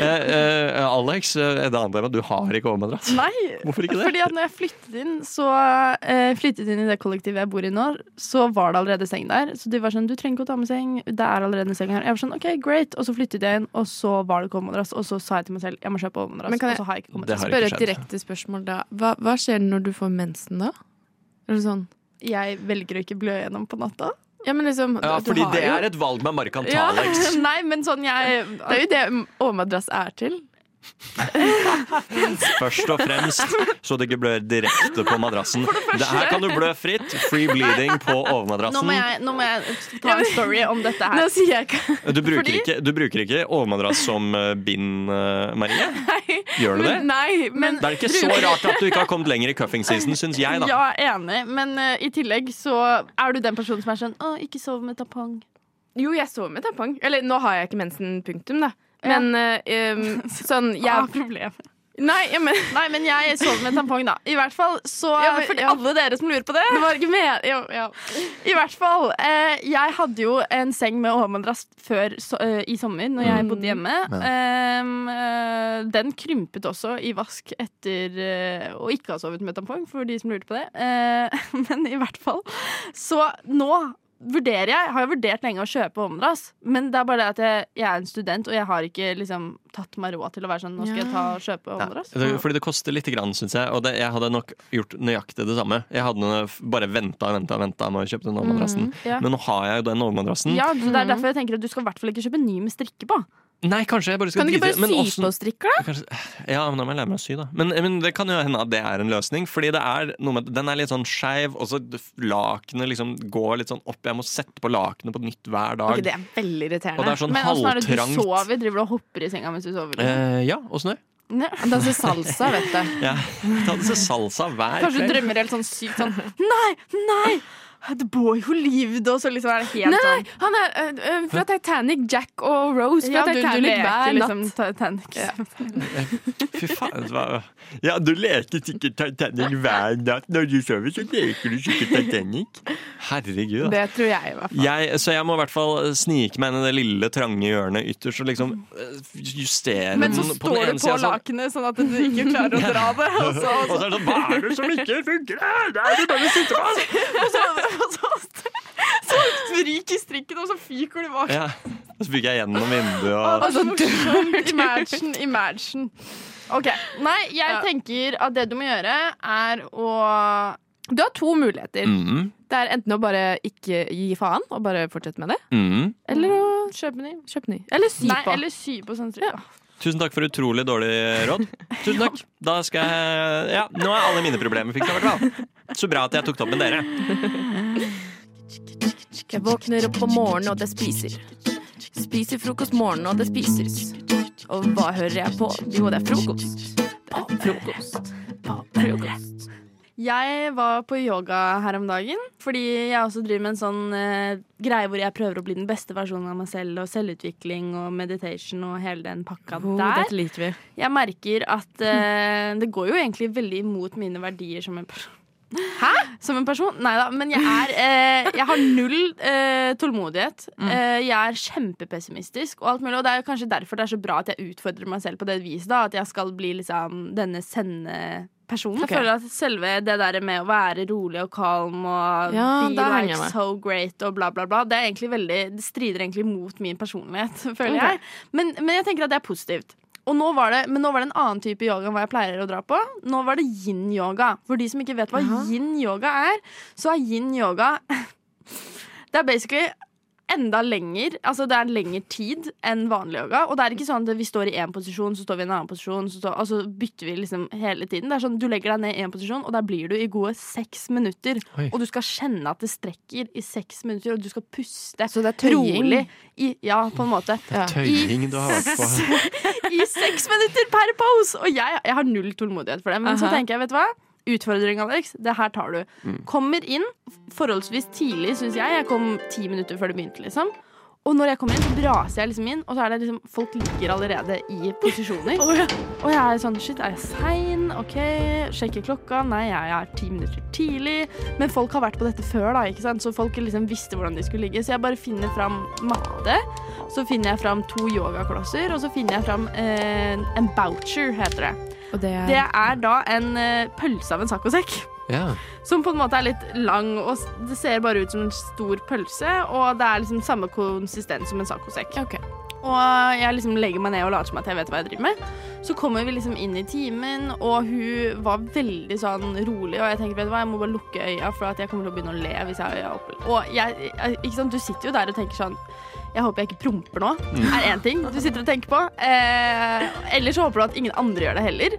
[SPEAKER 2] Eh, eh, Alex, eh, det andre er at du har ikke overmadrass.
[SPEAKER 6] Nei,
[SPEAKER 2] Hvorfor ikke det?
[SPEAKER 6] fordi at når jeg flyttet inn Så eh, flyttet inn i det kollektivet jeg bor i nå Så var det allerede seng der Så de var sånn, du trenger ikke å ta med seng Det er allerede en seng her Jeg var sånn, ok, great Og så flyttet jeg inn, og så var det ikke overmadrass Og så sa jeg til meg selv, jeg må kjøpe overmadrass
[SPEAKER 18] Men kan
[SPEAKER 6] Og så har jeg ikke
[SPEAKER 18] Altså, jeg
[SPEAKER 6] overmadrass
[SPEAKER 18] spørre et direkte spørsmål da? Hva, hva skjer når du får mensen, da? Eller sånn?
[SPEAKER 6] Jeg velger å ikke blø gjennom på natta
[SPEAKER 18] Ja, men liksom
[SPEAKER 2] Ja,
[SPEAKER 18] du
[SPEAKER 2] fordi
[SPEAKER 18] har
[SPEAKER 2] det
[SPEAKER 18] jo-
[SPEAKER 2] er et valg man bare kan ta,
[SPEAKER 6] Ja,
[SPEAKER 2] Alex.
[SPEAKER 6] nei, men sånn jeg Det er jo det overmadrass er til
[SPEAKER 2] Først og fremst, så du ikke blør direkte på madrassen. Det her kan du blø fritt. Free bleeding på
[SPEAKER 6] nå må,
[SPEAKER 2] overmadrassen.
[SPEAKER 6] jeg, nå må jeg ta en story om dette her
[SPEAKER 17] Nå sier jeg ikke
[SPEAKER 2] Du bruker
[SPEAKER 6] Fordi-
[SPEAKER 2] ikke, du bruker ikke overmadrass som eh, bind, eh, Marie? Gjør du det?
[SPEAKER 6] Nei, men
[SPEAKER 2] Det er ikke så rart at du ikke har kommet lenger i cuffing season, syns jeg, da.
[SPEAKER 6] Ja, jeg er enig, men eh, i tillegg så er du den personen som er sånn Å, ikke sov med tampong.
[SPEAKER 17] Jo, jeg sover med tampong. Eller nå har jeg ikke mensen, punktum, da. Men eh, um, sånn jeg...
[SPEAKER 6] Ah, problem.
[SPEAKER 17] Nei, ja, men...
[SPEAKER 6] Nei, men jeg sover med tampong, da. I hvert fall så
[SPEAKER 17] Ja, men-
[SPEAKER 6] For
[SPEAKER 17] ja.
[SPEAKER 6] alle dere som lurer på det.
[SPEAKER 17] Det var ikke med-
[SPEAKER 6] ja, ja. I hvert fall. Eh, jeg hadde jo en seng med overmadrass før so eh, i sommer, når jeg bodde hjemme.
[SPEAKER 17] Ja.
[SPEAKER 6] Em, eh, den krympet også i vask etter eh, å ikke ha sovet med tampong, for de som lurte på det. Eh, men i hvert fall. Så nå vurderer jeg, har jeg vurdert lenge å kjøpe overmadrass, men det er bare det at jeg, jeg er en student, og jeg har ikke liksom tatt meg råd til å være sånn, nå skal jeg ta og kjøpe overmadrass.
[SPEAKER 2] Det- Fordi det koster lite grann, syns jeg. Og det, jeg hadde nok gjort nøyaktig det samme. Jeg hadde nå f- bare venta og venta, venta med å kjøpe den overmadrassen.
[SPEAKER 6] Mhm, ja.
[SPEAKER 2] Men nå har jeg jo den overmadrassen.
[SPEAKER 6] Ja, så det er derfor jeg tenker at du skal i hvert fall ikke kjøpe ny med strikke på.
[SPEAKER 2] Nei, kanskje jeg bare skal
[SPEAKER 6] Kan du ikke
[SPEAKER 2] drite-
[SPEAKER 6] bare
[SPEAKER 2] men
[SPEAKER 6] sy
[SPEAKER 2] åssen-
[SPEAKER 6] på strikker, da?
[SPEAKER 2] Ja, men da må jeg lære meg å sy, da. Men, men det kan jo hende at det er en løsning. Fordi det er noe med at den er litt sånn skeiv, og så d- lakenet liksom går litt sånn opp. Jeg må sette på lakenet på nytt hver dag.
[SPEAKER 6] Ok, det er veldig irriterende.
[SPEAKER 2] Og det er sånn
[SPEAKER 6] Men åssen er det du
[SPEAKER 2] halvtrangt.
[SPEAKER 6] sover? Driver du og hopper i senga mens du sover?
[SPEAKER 2] Eh, ja, og snø.
[SPEAKER 6] Han danser salsa, vet du.
[SPEAKER 2] Ja. Danse salsa hver
[SPEAKER 6] Kanskje du
[SPEAKER 2] kveld.
[SPEAKER 6] drømmer helt sånn sykt sånn Nei, nei! The boy who lived, og så liksom er det helt
[SPEAKER 17] Nei,
[SPEAKER 6] sånn
[SPEAKER 17] nei, han er eh, eh, fra Titanic, Jack og Rose fra
[SPEAKER 6] Ja, du- du
[SPEAKER 17] Titanic
[SPEAKER 6] leker
[SPEAKER 17] hver
[SPEAKER 6] liksom
[SPEAKER 17] natt.
[SPEAKER 2] Fy faen. det var- Ja, du leker sikkert Titanic hver natt. Når du sover, så leker du sikkert Titanic. Herregud. da.
[SPEAKER 17] Det tror jeg, i hvert fall.
[SPEAKER 2] Jeg, så jeg må i hvert fall snike meg inn i det lille, trange hjørnet ytterst og liksom eh, justere
[SPEAKER 6] Men så
[SPEAKER 2] den på
[SPEAKER 6] står
[SPEAKER 2] den ene
[SPEAKER 6] du på
[SPEAKER 2] siden, sånn-
[SPEAKER 6] lakenet, sånn at du ikke klarer å dra det. Og så,
[SPEAKER 2] Og så er det sånn, hva er det som ikke funker her? Det er det bare å sitte på!
[SPEAKER 6] Og så, og så, så, ryker strikken, og så fyker du bak.
[SPEAKER 2] Ja. Og så fyker jeg gjennom vinduet og
[SPEAKER 6] Og så morsomt. Imagine, imagine. Ok, Nei, jeg tenker at det du må gjøre, er å
[SPEAKER 17] Du har to muligheter.
[SPEAKER 7] Mm.
[SPEAKER 2] Mhm.
[SPEAKER 17] Det er enten å bare ikke gi faen og bare fortsette med det,
[SPEAKER 2] Mhm.
[SPEAKER 17] eller å kjøpe Mm. ny. Kjøpe ny. Eller sy
[SPEAKER 6] Nei,
[SPEAKER 17] på.
[SPEAKER 6] eller sy på sånn strikk.
[SPEAKER 2] Tusen takk for utrolig dårlig råd. Tusen takk. Da skal jeg Ja, nå er alle mine problemer fiksa, i hvert fall. Så bra at jeg tok det opp med dere.
[SPEAKER 18] Jeg våkner opp om morgenen, og det spiser. Spiser frokost morgenen, og det spises. Og hva hører jeg på? Jo, det er frokost. På frokost. På frokost.
[SPEAKER 6] Jeg var på yoga her om dagen, fordi jeg også driver med en sånn eh, greie hvor jeg prøver å bli den beste versjonen av meg selv, og selvutvikling og meditation og hele den pakka
[SPEAKER 17] Oh,
[SPEAKER 6] der.
[SPEAKER 17] dette liker vi.
[SPEAKER 6] Jeg merker at eh, det går jo egentlig veldig imot mine verdier som en person. Hæ?! Som en person? Nei da, men jeg er eh, Jeg har null eh, tålmodighet.
[SPEAKER 17] Mm.
[SPEAKER 6] Eh, jeg er kjempepessimistisk og alt mulig. Og det er jo kanskje derfor det er så bra at jeg utfordrer meg selv på det viset. da At jeg skal bli liksom denne sendepersonen.
[SPEAKER 17] Ok.
[SPEAKER 6] Jeg føler at selve det der med å være rolig og kalm og
[SPEAKER 18] Ja,
[SPEAKER 6] be
[SPEAKER 18] der henger jeg
[SPEAKER 6] like
[SPEAKER 18] med.
[SPEAKER 6] so great og bla, bla, bla, det er egentlig veldig Det strider egentlig mot min personlighet, føler
[SPEAKER 18] Ok.
[SPEAKER 6] jeg. Men, men jeg tenker at det er positivt. Og nå var det, men nå var det en annen type yoga enn hva jeg pleier å dra på. Nå var det yin-yoga. For de som ikke vet hva yin-yoga er, så er yin-yoga Det er basically enda lenger Altså det er lengre tid enn vanlig yoga. Og det er ikke sånn at vi står i én posisjon, så står vi i en annen posisjon, så står, og så bytter vi liksom hele tiden. Det er sånn Du legger deg ned i én posisjon, og der blir du i gode seks minutter.
[SPEAKER 17] Oi.
[SPEAKER 6] Og du skal kjenne at det strekker i seks minutter, og du skal puste
[SPEAKER 17] det er tøying?
[SPEAKER 6] rolig. I, ja, på en måte.
[SPEAKER 17] Det er tøying
[SPEAKER 6] I
[SPEAKER 17] du har vært på.
[SPEAKER 6] s- I seks minutter per pose! Og jeg, jeg har null tålmodighet for det. Men så
[SPEAKER 17] Aha.
[SPEAKER 6] tenker jeg, vet du hva? Utfordring, Alex. Det her tar du.
[SPEAKER 17] Mm.
[SPEAKER 6] Kommer inn forholdsvis tidlig, syns jeg. Jeg kom ti minutter før det begynte, liksom. Og når jeg kommer inn, så braser jeg liksom inn, og så er det liksom folk ligger allerede i posisjoner. Og jeg er sånn shit, er jeg sein? OK. Sjekker klokka. Nei, jeg er ti minutter tidlig. Men folk har vært på dette før, da, ikke sant? så folk liksom visste hvordan de skulle ligge. Så jeg bare finner fram matte. Så finner jeg fram to yogaklosser, og så finner jeg fram eh, en boucher, heter det.
[SPEAKER 17] Og det er
[SPEAKER 6] Det er da en eh, pølse av en saccosekk.
[SPEAKER 19] Ja.
[SPEAKER 6] Som på en måte er litt lang, og s- det ser bare ut som en stor pølse. Og det er liksom samme konsistens som en saccosekk. Og jeg liksom legger meg ned og later som at jeg vet hva jeg driver med. Så kommer vi liksom inn i timen, og hun var veldig sånn rolig. Og jeg tenker, vet du hva, jeg må bare lukke øya, for at jeg kommer til å begynne å le hvis jeg har øya oppe. Og jeg, jeg, ikke sant, du sitter jo der og tenker sånn jeg håper jeg ikke promper nå,
[SPEAKER 17] Mm.
[SPEAKER 6] er én ting du sitter og tenker på. Eh, Eller så håper du at ingen andre gjør det heller.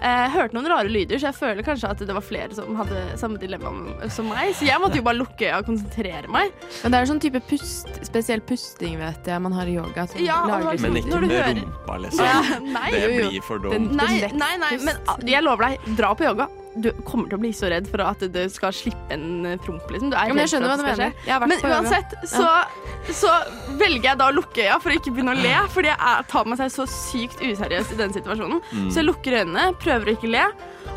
[SPEAKER 6] Eh, hørte noen rare lyder, så jeg føler kanskje at det var flere som hadde samme dilemma som meg. Så jeg måtte jo bare lukke øya og konsentrere meg.
[SPEAKER 17] Men det er en sånn type pust, spesiell pusting, vet jeg, man har i yoga. som
[SPEAKER 6] Ja, og
[SPEAKER 17] lager
[SPEAKER 6] det var
[SPEAKER 17] sånn-
[SPEAKER 6] Men ikke når du med hører- rumpa, liksom. Ja, nei.
[SPEAKER 2] det
[SPEAKER 6] Jo, jo.
[SPEAKER 2] blir for
[SPEAKER 17] Den-
[SPEAKER 2] dumt.
[SPEAKER 6] Nei, nei, nei, men ah, jeg lover deg, dra på yoga. Du kommer til å bli så redd for at du skal slippe en eh, promp, liksom. Du er
[SPEAKER 17] Ja, men jeg
[SPEAKER 6] redd for
[SPEAKER 17] skjønner
[SPEAKER 6] at
[SPEAKER 17] hva
[SPEAKER 6] det
[SPEAKER 17] du
[SPEAKER 6] skal
[SPEAKER 17] mener.
[SPEAKER 6] skje.
[SPEAKER 17] Jeg har vært
[SPEAKER 6] Men
[SPEAKER 17] på yoga.
[SPEAKER 6] uansett, så,
[SPEAKER 17] Ja.
[SPEAKER 6] så velger jeg da å lukke øya for å ikke begynne å le, fordi jeg er, tar meg selv så sykt useriøst i den situasjonen.
[SPEAKER 17] Mm.
[SPEAKER 6] Så jeg lukker øynene, prøver å ikke le,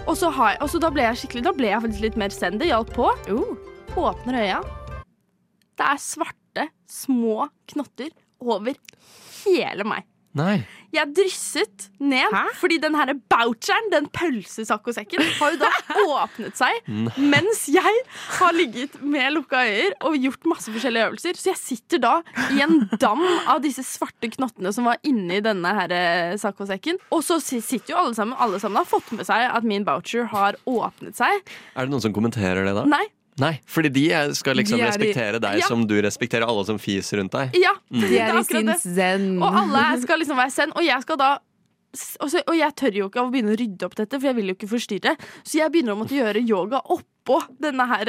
[SPEAKER 6] og så, har jeg, og så da ble jeg skikkelig Da ble jeg faktisk litt mer zen. Det hjalp på.
[SPEAKER 17] Uh.
[SPEAKER 6] Åpner øya. Det er svarte, små knotter over hele meg.
[SPEAKER 19] Nei.
[SPEAKER 6] Jeg drysset ned, fordi den her boucheren, den pølsesaccosekken, har jo da åpnet seg
[SPEAKER 19] Nei.
[SPEAKER 6] mens jeg har ligget med lukka øyer og gjort masse forskjellige øvelser. Så jeg sitter da i en dam av disse svarte knottene som var inni denne her eh, saccosekken. Og så si- sitter jo alle sammen, alle sammen har fått med seg at min boucher har åpnet seg.
[SPEAKER 2] Er det noen som kommenterer det da?
[SPEAKER 6] Nei.
[SPEAKER 2] Nei, fordi de er- skal liksom
[SPEAKER 6] De er i-
[SPEAKER 2] respektere deg
[SPEAKER 6] Ja.
[SPEAKER 2] som du respekterer alle som fiser rundt deg.
[SPEAKER 6] Ja,
[SPEAKER 2] Mm.
[SPEAKER 6] det er akkurat det. Og alle skal liksom være zen. Og jeg skal da og, så, og jeg tør jo ikke å begynne å rydde opp dette, for jeg vil jo ikke forstyrre. Så jeg begynner å måtte gjøre yoga oppå denne her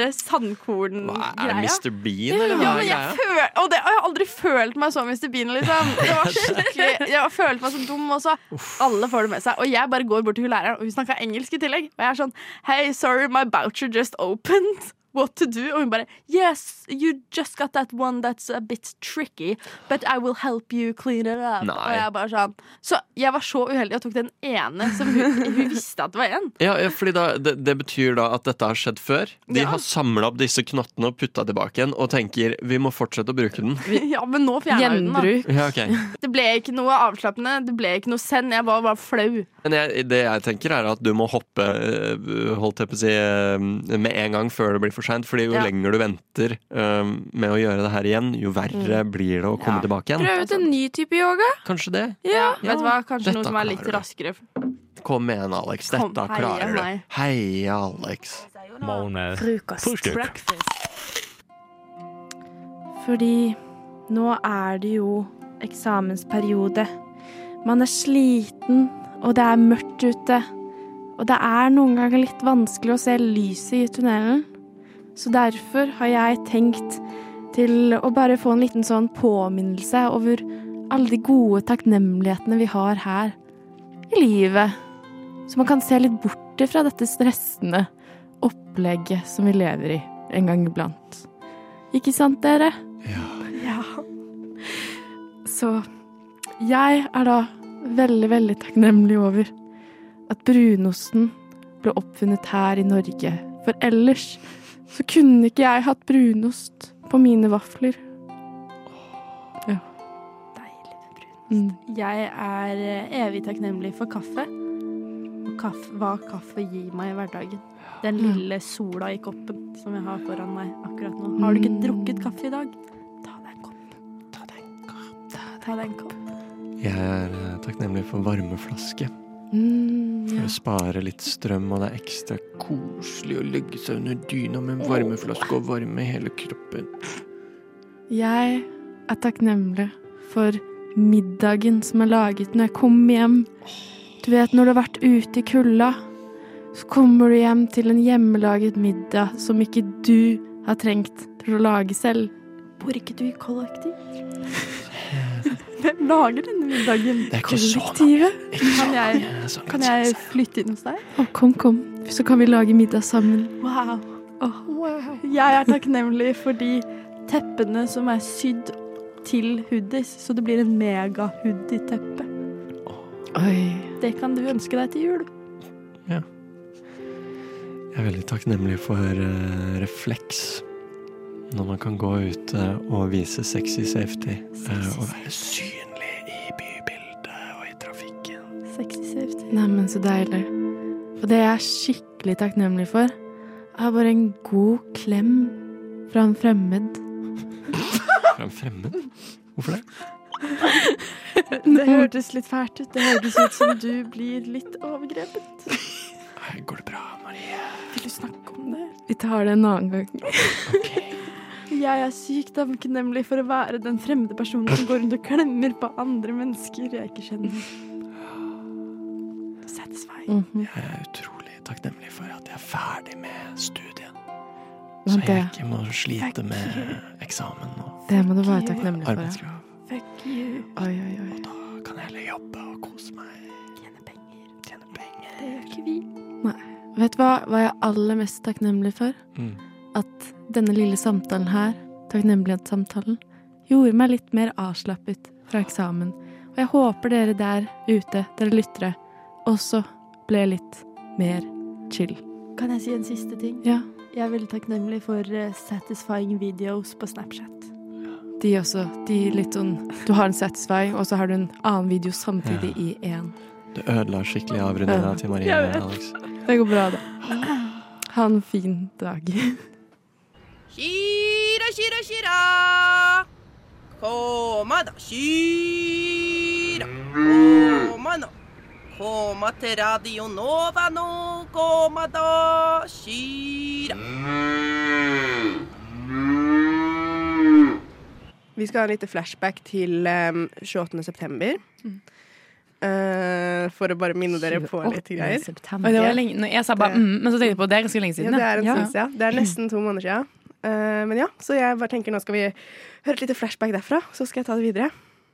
[SPEAKER 6] sandkorngreia.
[SPEAKER 2] Er det Mr. Bean, eller
[SPEAKER 6] Ja,
[SPEAKER 2] hva
[SPEAKER 6] men
[SPEAKER 2] er
[SPEAKER 6] jeg
[SPEAKER 2] greia?
[SPEAKER 6] føl og, det, og jeg har aldri følt meg så Mr. Bean, liksom. Det var skikkelig, jeg har følt meg så dum også. Alle får det med seg. Og jeg bare går bort til hun læreren, og hun snakka engelsk i tillegg. Og jeg er sånn Hey, sorry, my voucher just opened. What to do? Og hun bare Yes, you just got that one that's a bit tricky, but I will help you clean it up.
[SPEAKER 2] Nei.
[SPEAKER 6] Og jeg bare sånn Så jeg var så uheldig og tok den ene som hun, hun visste at det var en.
[SPEAKER 2] Ja, ja, fordi da, det, det betyr da at dette har skjedd før. De har samla opp disse knottene og putta tilbake igjen, og tenker vi må fortsette å bruke den.
[SPEAKER 6] Ja, men nå fjerna hun den, da.
[SPEAKER 2] Ja, ok.
[SPEAKER 6] Det ble ikke noe avslappende, det ble ikke noe send. Jeg var bare flau.
[SPEAKER 2] Men jeg, det jeg tenker er at du må hoppe eh, holdt jeg på å si, eh, med en gang før det blir for seint. Fordi jo
[SPEAKER 17] Ja.
[SPEAKER 2] lenger du venter eh, med å gjøre det her igjen, jo verre
[SPEAKER 6] Mm.
[SPEAKER 2] blir det å komme tilbake igjen.
[SPEAKER 17] Prøv ut en ny type yoga.
[SPEAKER 2] Kanskje det.
[SPEAKER 17] Ja.
[SPEAKER 6] Vet du hva, kanskje
[SPEAKER 2] Dette
[SPEAKER 6] noe som er litt
[SPEAKER 2] klarer du.
[SPEAKER 6] raskere.
[SPEAKER 2] Kom igjen, Alex. Dette
[SPEAKER 6] Kom, heia
[SPEAKER 2] klarer du.
[SPEAKER 6] meg.
[SPEAKER 2] Heia, Alex.
[SPEAKER 6] eh,
[SPEAKER 18] Fordi nå er det jo eksamensperiode. Man er sliten, og det er mørkt ute. Og det er noen ganger litt vanskelig å se lyset i tunnelen. Så derfor har jeg tenkt til å bare få en liten sånn påminnelse over alle de gode takknemlighetene vi har her i livet. Så man kan se litt bort fra dette stressende opplegget som vi lever i en gang iblant. Ikke sant, dere? Ja. Så jeg er da veldig, veldig takknemlig over at brunosten ble oppfunnet her i Norge. For ellers så kunne ikke jeg hatt brunost på mine vafler. Ja. Mm. Deilig med brunost.
[SPEAKER 6] Jeg er eh, evig takknemlig for kaffe. Og kaffe, hva kaffe gir meg i hverdagen. Den lille sola i koppen som jeg har foran meg akkurat nå. Har du ikke drukket kaffe i dag? Ta deg en kopp.
[SPEAKER 2] Jeg er eh, takknemlig for varmeflaske.
[SPEAKER 18] Mm,
[SPEAKER 2] For å spare litt strøm, og det er ekstra koselig å legge seg under dyna med en varmeflaske og varme i hele kroppen.
[SPEAKER 18] Jeg er takknemlig for middagen som er laget når jeg kommer hjem. Du vet når du har vært ute i kulda, så kommer du hjem til en hjemmelaget middag som ikke du har trengt til å lage selv. Bor ikke du i kollektiv? Hvem lager denne middagen?
[SPEAKER 6] Det er ikke så mange. Kan jeg, kan jeg flytte inn hos deg?
[SPEAKER 18] Å, kom, kom, så kan vi lage middag sammen.
[SPEAKER 6] Wow. Jeg er takknemlig for de teppene som er sydd til hoodies, så det blir en mega-hoodie-teppe. Det kan du ønske deg til jul.
[SPEAKER 2] Jeg er veldig takknemlig for eh, refleks. Når man kan gå ute og vise sexy safety. eh, og være synlig i bybildet og i trafikken.
[SPEAKER 18] Sexy safety. Neimen, så deilig. Og det jeg er skikkelig takknemlig for, er bare en god klem fra en fremmed.
[SPEAKER 2] Fra en fremmed? Hvorfor det?
[SPEAKER 6] Det hørtes litt fælt ut. Det hørtes ut som du blir litt overgrepet.
[SPEAKER 2] Går det bra, Marie?
[SPEAKER 6] Vil du snakke om det?
[SPEAKER 18] Vi tar det en annen gang.
[SPEAKER 6] Jeg er sykt takknemlig for å være den fremmede personen som går rundt og klemmer på andre mennesker jeg ikke kjenner. Satisfying.
[SPEAKER 18] Mhm.
[SPEAKER 2] Jeg er utrolig takknemlig for at jeg er ferdig med studiet.
[SPEAKER 18] Men
[SPEAKER 2] Så jeg
[SPEAKER 18] det-
[SPEAKER 2] ikke må slite med eksamen og
[SPEAKER 18] Det må du være takknemlig for.
[SPEAKER 2] arbeidskrav.
[SPEAKER 6] Fuck you.
[SPEAKER 18] Oi, oi, oi.
[SPEAKER 2] Kan jeg heller jobbe og kose meg.
[SPEAKER 6] Det gjør ikke vi.
[SPEAKER 18] Nei. Vet du hva, hva jeg er aller mest takknemlig for?
[SPEAKER 2] Mm.
[SPEAKER 18] At denne lille samtalen her, takknemlighetssamtalen, gjorde meg litt mer avslappet fra eksamen. Og jeg håper dere der ute, dere lyttere, også ble litt mer chill.
[SPEAKER 6] Kan jeg si en siste ting?
[SPEAKER 18] Ja.
[SPEAKER 6] Jeg er veldig takknemlig for eh, satisfying videos på Snapchat.
[SPEAKER 18] De også. De litt sånn Du har en satisfying, og så har du en annen video samtidig i én.
[SPEAKER 2] Du ødela skikkelig avrundinga til Marie.
[SPEAKER 18] Jeg vet.
[SPEAKER 2] Alex.
[SPEAKER 18] Det går bra, det. Ha en fin dag.
[SPEAKER 14] Shira, shira, shira. Koma da, shira. Koma nå. Koma til Radio Nova nå. Koma da, shira.
[SPEAKER 19] Vi skal ha en liten flashback til um, 28. september.
[SPEAKER 4] Mm.
[SPEAKER 19] Eh, for å bare minne dere på litt
[SPEAKER 20] 28.
[SPEAKER 19] greier.
[SPEAKER 20] september. Oi, det var lenge- når jeg sa bare, mm, men så tenkte jeg på, det er ganske lenge siden,
[SPEAKER 19] Ja, det
[SPEAKER 20] ja.
[SPEAKER 19] er, en
[SPEAKER 20] Ja.
[SPEAKER 19] stund siden. det er nesten to måneder siden. Eh, men ja, så jeg bare tenker nå skal vi høre et lite flashback derfra, så skal jeg ta det videre.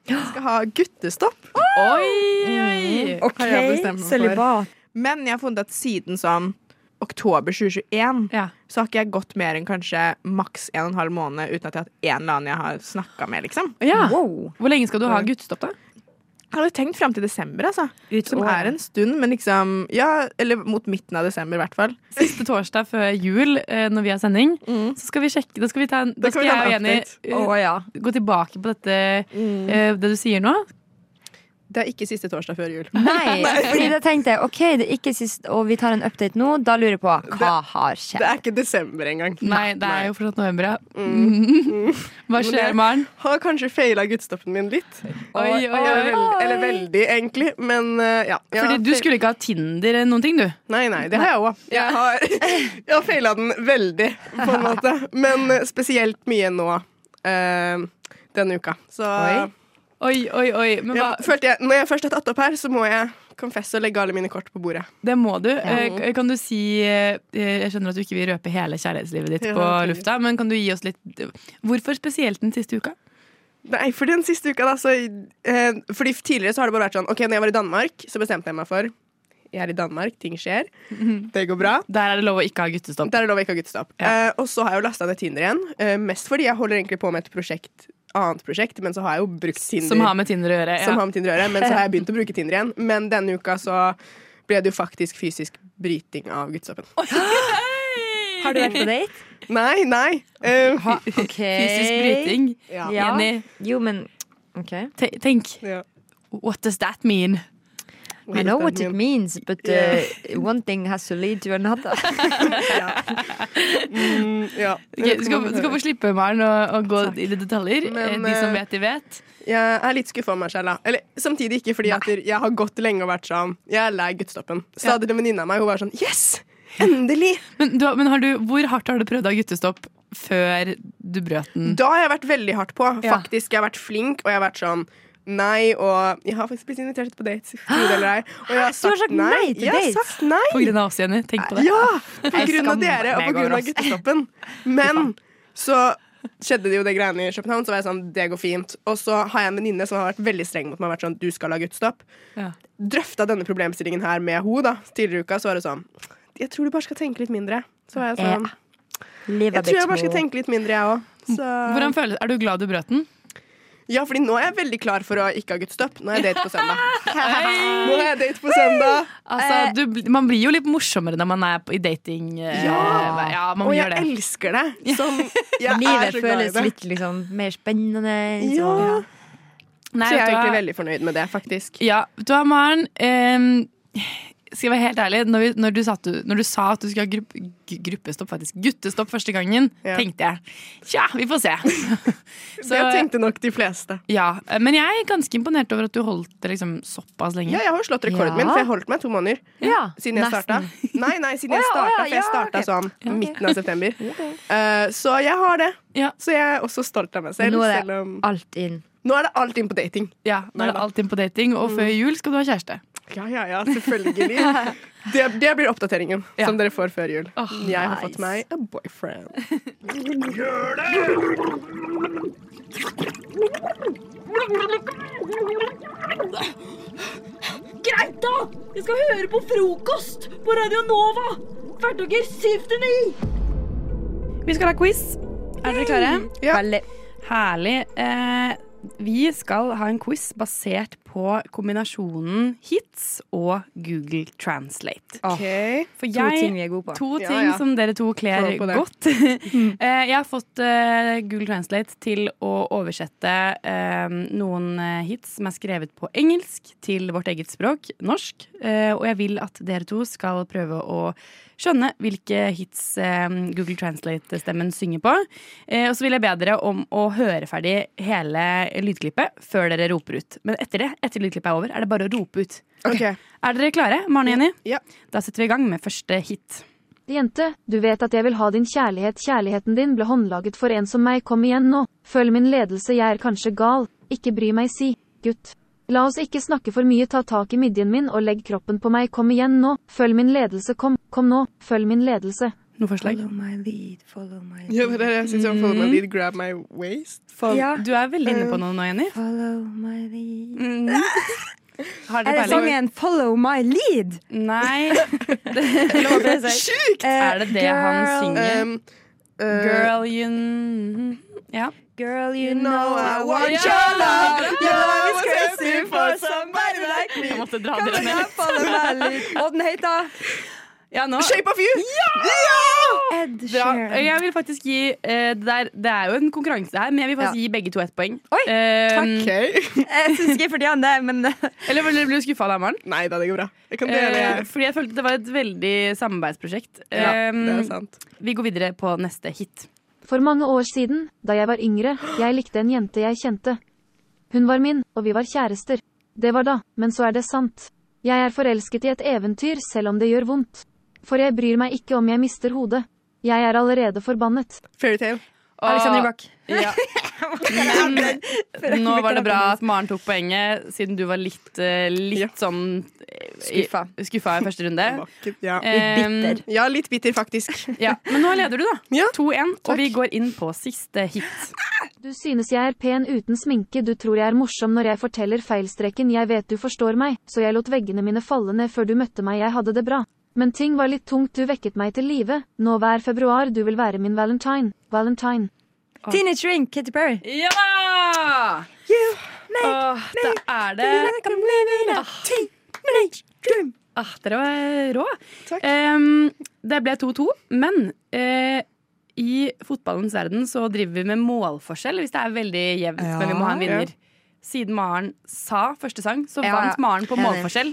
[SPEAKER 19] Vi skal ha guttestopp.
[SPEAKER 20] Mm, oi.
[SPEAKER 19] OK,
[SPEAKER 20] Har jeg bestemt meg for.
[SPEAKER 19] sølibat. Men jeg har funnet at siden sånn oktober 2021, så har ikke jeg gått mer enn kanskje maks en og en halv måned uten at jeg har hatt en eller annen jeg har snakka med, liksom. Mm.
[SPEAKER 20] Ja. Hvor lenge skal du ha guttestopp, da?
[SPEAKER 19] Jeg hadde tenkt fram til desember, altså. som
[SPEAKER 20] året.
[SPEAKER 19] er en stund, men liksom Ja, eller mot midten av desember, i hvert fall.
[SPEAKER 20] Siste torsdag før jul, eh, når vi har sending, så skal vi sjekke Da skal, vi ta en, da
[SPEAKER 19] Mm. Da kan
[SPEAKER 20] skal
[SPEAKER 19] vi
[SPEAKER 20] jeg
[SPEAKER 19] ta
[SPEAKER 20] og
[SPEAKER 19] en
[SPEAKER 20] Jenny
[SPEAKER 19] update.
[SPEAKER 20] eh,
[SPEAKER 19] Å, ja. Mm.
[SPEAKER 20] gå tilbake på dette, eh, det du sier nå.
[SPEAKER 19] Det er ikke siste torsdag før jul.
[SPEAKER 21] Nei, fordi da tenkte jeg OK, det er ikke sist, og vi tar en update nå. Da lurer jeg på hva har skjedd.
[SPEAKER 19] Det er ikke desember engang.
[SPEAKER 20] Nei, det er jo fortsatt november, ja.
[SPEAKER 19] Mm.
[SPEAKER 20] Hva
[SPEAKER 19] Men
[SPEAKER 20] skjer,
[SPEAKER 19] jeg
[SPEAKER 20] Maren?
[SPEAKER 19] Har kanskje feila guttestoppen min litt.
[SPEAKER 20] Oi, oi, oi.
[SPEAKER 19] Eller, veld, eller veldig, egentlig. Men eh, ja. Jeg har
[SPEAKER 20] Fordi du
[SPEAKER 19] feil-
[SPEAKER 20] skulle ikke ha Tinder eller noen ting, du.
[SPEAKER 19] Nei, nei, det har jeg òg. Jeg har, jeg har feila den veldig, på en måte. Men eh, spesielt mye nå eh, denne uka. Så
[SPEAKER 20] Oi. Oi, oi, oi. Men hva,
[SPEAKER 19] jeg, følte jeg, når jeg først har tatt opp her, så må jeg confesse og legge alle mine kort på bordet.
[SPEAKER 20] Det må du.
[SPEAKER 19] Ja.
[SPEAKER 20] Eh, Kan du si eh, Jeg skjønner at du ikke vil røpe hele kjærlighetslivet ditt
[SPEAKER 19] Ja,
[SPEAKER 20] på
[SPEAKER 19] naturligvis.
[SPEAKER 20] lufta, men kan du gi oss litt eh, Hvorfor spesielt den siste uka?
[SPEAKER 19] Nei, for den siste uka, da, så eh, Fordi tidligere så har det bare vært sånn OK, når jeg var i Danmark, så bestemte jeg meg for Jeg er i Danmark, ting skjer. Det går bra.
[SPEAKER 20] Der er det lov å ikke ha guttestopp.
[SPEAKER 19] Der er det lov å ikke ha guttestopp. Eh, og så har jeg jo lasta ned Tinder igjen. Eh, mest fordi jeg holder egentlig på med et prosjekt, annet prosjekt, men så har jeg jo brukt Tinder.
[SPEAKER 20] Som har med Tinder å gjøre. ja.
[SPEAKER 19] Som har med Tinder å gjøre, men så har jeg begynt å bruke Tinder igjen. Men denne uka så ble det jo faktisk fysisk bryting av guttestoppen.
[SPEAKER 21] Har du vært på date?
[SPEAKER 19] Nei, nei. Eh,
[SPEAKER 21] Fysisk
[SPEAKER 20] bryting.
[SPEAKER 21] Ja.
[SPEAKER 20] Jenny.
[SPEAKER 21] Jo, men OK.
[SPEAKER 20] Te tenk. What does that mean?
[SPEAKER 21] I know what it means, but uh, one thing has to lead to another.
[SPEAKER 19] Mm, ja.
[SPEAKER 20] Ok, du, skal, du skal få slippe, Maren, å, å gå i det detaljer. Eh, de som
[SPEAKER 19] eh,
[SPEAKER 20] vet, de vet.
[SPEAKER 19] Jeg er litt skuffa over meg selv. da. Eller samtidig ikke, fordi at jeg har gått lenge og vært sånn Jeg er lei guttestoppen. Stadig en venninne av meg hun var sånn Yes! Endelig!
[SPEAKER 20] Men, du, har- men har du, hvor hardt har du prøvd å ha guttestopp
[SPEAKER 6] før du brøt den?
[SPEAKER 19] Da har jeg vært veldig hardt på.
[SPEAKER 6] Mm. Ja.
[SPEAKER 19] Faktisk, jeg har vært flink, og jeg har vært sånn Nei, og jeg har faktisk blitt invitert ut på dates. tro det eller ei, Og jeg
[SPEAKER 6] Du har
[SPEAKER 19] har sagt
[SPEAKER 6] sagt
[SPEAKER 19] nei.
[SPEAKER 6] nei til
[SPEAKER 19] jeg har
[SPEAKER 6] dates?
[SPEAKER 19] sagt nei.
[SPEAKER 6] På grunn av oss, Jenny. Tenk på det.
[SPEAKER 19] Ja! På grunn av dere og på grunn av guttestoppen. Men så skjedde det jo det greiene i København, så var jeg sånn Det går fint. Og så har jeg en venninne som har vært veldig streng mot meg og vært sånn Du skal ha guttestopp.
[SPEAKER 6] Ja.
[SPEAKER 19] Drøfta denne problemstillingen her med henne, da. Tidligere i uka så var det sånn Jeg tror du bare skal tenke litt mindre. Så var jeg sånn Jeg tror jeg bare skal tenke litt mindre, jeg òg.
[SPEAKER 6] Hvordan føles Er du glad du brøt den?
[SPEAKER 19] Ja, fordi nå er jeg veldig klar for å ikke ha guttestopp. Nå er jeg date på søndag. Nå er jeg date på søndag.
[SPEAKER 6] Altså,
[SPEAKER 21] Eh,
[SPEAKER 6] du, bl- man blir jo litt morsommere når man er på, i dating. eh,
[SPEAKER 19] Ja.
[SPEAKER 6] ja man
[SPEAKER 19] Og
[SPEAKER 6] gjør
[SPEAKER 19] jeg
[SPEAKER 6] det.
[SPEAKER 19] elsker det. Som,
[SPEAKER 21] Livet føles litt liksom, mer spennende.
[SPEAKER 19] Eh, Ja.
[SPEAKER 6] Nei,
[SPEAKER 19] så jeg
[SPEAKER 6] vet
[SPEAKER 19] er
[SPEAKER 6] du hva?
[SPEAKER 19] egentlig veldig fornøyd med det, faktisk.
[SPEAKER 6] Ja, vet du hva, Maren? Ehm, skal jeg være helt ærlig, når, vi, når, du, satt, når du sa at du skulle ha grupp, gu- gruppestopp, faktisk guttestopp første gangen, tenkte jeg tja, vi får se.
[SPEAKER 19] det tenkte nok de fleste.
[SPEAKER 6] Ja, eh, Men jeg er ganske imponert over at du holdt det liksom såpass lenge.
[SPEAKER 19] Ja, jeg har jo slått rekorden min, for jeg holdt meg to måneder
[SPEAKER 6] Ja,
[SPEAKER 19] siden jeg
[SPEAKER 6] nesten.
[SPEAKER 19] starta. Nei, nei, siden
[SPEAKER 6] Å ja,
[SPEAKER 19] jeg
[SPEAKER 6] å
[SPEAKER 19] starta,
[SPEAKER 6] ja,
[SPEAKER 19] for jeg
[SPEAKER 6] ja, ok.
[SPEAKER 19] starta
[SPEAKER 6] Ja,
[SPEAKER 19] sånn
[SPEAKER 6] ok.
[SPEAKER 19] midten av september. Eh, så jeg har det. Så jeg er også stolt av meg selv.
[SPEAKER 6] Nå er det
[SPEAKER 19] selv om alt inn. Nå er det alt inn på dating. Mm.
[SPEAKER 6] Ja, nå er det alt inn på dating, og før jul skal du ha kjæreste.
[SPEAKER 19] Ja, ja, ja, selvfølgelig. Det, det blir oppdateringen som dere får før jul. jeg har fått meg a boyfriend.
[SPEAKER 6] Oh
[SPEAKER 19] Gjør
[SPEAKER 7] Greit, da! Jeg skal høre på frokost på Radio Nova! Hverdager 7 til 9!
[SPEAKER 6] Vi skal ha quiz. Er dere klare?
[SPEAKER 19] Ja.
[SPEAKER 6] Herlig. Eh, vi skal ha en quiz basert på kombinasjonen hits og Google Translate. For jeg,
[SPEAKER 21] to ting vi er gode på.
[SPEAKER 6] To ting som dere to kler
[SPEAKER 21] Prøv på det.
[SPEAKER 6] godt. Eh, jeg har fått eh, Google Translate til å oversette eh, noen eh, hits som er skrevet på engelsk til vårt eget språk, norsk. Eh, og jeg vil at dere to skal prøve å skjønne hvilke hits eh, Google Translate-stemmen synger på. Eh, og så vil jeg be dere om å høre ferdig hele lydklippet før dere roper ut. Men etter det, etter lydklippet er over, er det bare å rope ut. Er dere klare, Maren og Jenny? Da setter vi i gang med første hit.
[SPEAKER 22] Jente, du vet at jeg vil ha din kjærlighet. Kjærligheten din ble håndlaget for en som meg. Kom igjen nå. Følg min ledelse. Jeg er kanskje gal. Ikke bry meg, si. Gutt. La oss ikke snakke for mye. Ta tak i midjen min og legg kroppen på meg. Kom igjen nå. Følg min ledelse. Kom. Kom nå. Følg min ledelse.
[SPEAKER 6] Noe forslag?
[SPEAKER 22] Follow my lead. Follow my
[SPEAKER 19] Ja, det er det jeg synes om
[SPEAKER 6] Mm.
[SPEAKER 19] follow my lead, grab my waist.
[SPEAKER 6] Fol- Du er veldig inne på
[SPEAKER 19] Um,
[SPEAKER 6] noe nå, Jenny. Mm.
[SPEAKER 21] Uh, Follow my lead.
[SPEAKER 6] Har
[SPEAKER 21] Er
[SPEAKER 6] dere
[SPEAKER 21] det
[SPEAKER 6] peiling?
[SPEAKER 21] sangen 'Follow my lead'?
[SPEAKER 6] Nei.
[SPEAKER 19] Sjukt!
[SPEAKER 6] Er det det han
[SPEAKER 21] Girl,
[SPEAKER 6] synger?
[SPEAKER 21] um,
[SPEAKER 6] Girl you kn- Ja.
[SPEAKER 21] Girl,
[SPEAKER 6] you
[SPEAKER 21] know I want
[SPEAKER 6] Ja!
[SPEAKER 21] your love. Your love is
[SPEAKER 6] was
[SPEAKER 21] crazy
[SPEAKER 6] crazy
[SPEAKER 21] for
[SPEAKER 6] for
[SPEAKER 21] somebody like me.
[SPEAKER 6] Jeg måtte dra
[SPEAKER 21] Come
[SPEAKER 6] dere
[SPEAKER 21] on,
[SPEAKER 6] med
[SPEAKER 21] I follow my lead.
[SPEAKER 6] litt.
[SPEAKER 21] Og den heter
[SPEAKER 6] Ja, nå.
[SPEAKER 21] Shape of You.
[SPEAKER 6] Ja!
[SPEAKER 21] Ed
[SPEAKER 6] Bra.
[SPEAKER 21] Sheeran.
[SPEAKER 6] Jeg vil faktisk gi eh, det, der, det er jo en konkurranse her, men jeg vil faktisk gi begge to ett poeng. Ehm,
[SPEAKER 21] Jeg syns ikke jeg fortjener det, men
[SPEAKER 6] Eller ble ble du skuffa da, Maren?
[SPEAKER 19] Nei da, det går bra. Jeg kan dele.
[SPEAKER 6] Eh, fordi jeg følte det var et veldig samarbeidsprosjekt.
[SPEAKER 22] Ja,
[SPEAKER 6] Ehm,
[SPEAKER 22] det er sant.
[SPEAKER 6] Vi går videre på neste hit.
[SPEAKER 22] For mange år siden, da jeg var yngre, jeg likte en jente jeg kjente. Hun var min, og vi var kjærester. Det var da, men så er det sant. Jeg er forelsket i et eventyr selv om det gjør vondt. For jeg bryr meg ikke om jeg mister hodet. Jeg er allerede forbannet.
[SPEAKER 19] Fairytale.
[SPEAKER 22] Alexander
[SPEAKER 6] Og- Ja. Men nå var det bra at Maren tok poenget, siden du var litt, eh, litt sånn skuffa. skuffa i første runde.
[SPEAKER 19] Ja.
[SPEAKER 6] Litt bitter.
[SPEAKER 19] Ja, litt bitter, faktisk.
[SPEAKER 6] Ja, Men nå leder du, da. 2-1. Og vi går inn på siste hit.
[SPEAKER 22] Du synes jeg er pen uten sminke, du tror jeg er morsom når jeg forteller feilstreken, jeg vet du forstår meg, så jeg lot veggene mine falle ned før du møtte meg, jeg hadde det bra. Men ting var litt tungt, du vekket meg til live. Nå hver februar, du vil være min valentine. Valentine.
[SPEAKER 21] Teenage Dream, Katy Perry.
[SPEAKER 6] Ja! Åh, da er det Ah, dere var rå. Em, det ble 2-2, men eh, i fotballens verden så driver vi med målforskjell hvis det er veldig jevnt,
[SPEAKER 21] Ja.
[SPEAKER 6] men vi må ha en vinner.
[SPEAKER 21] Ja.
[SPEAKER 6] Siden Maren sa første sang, så
[SPEAKER 21] Ja.
[SPEAKER 6] vant Maren på
[SPEAKER 21] Enig.
[SPEAKER 6] målforskjell.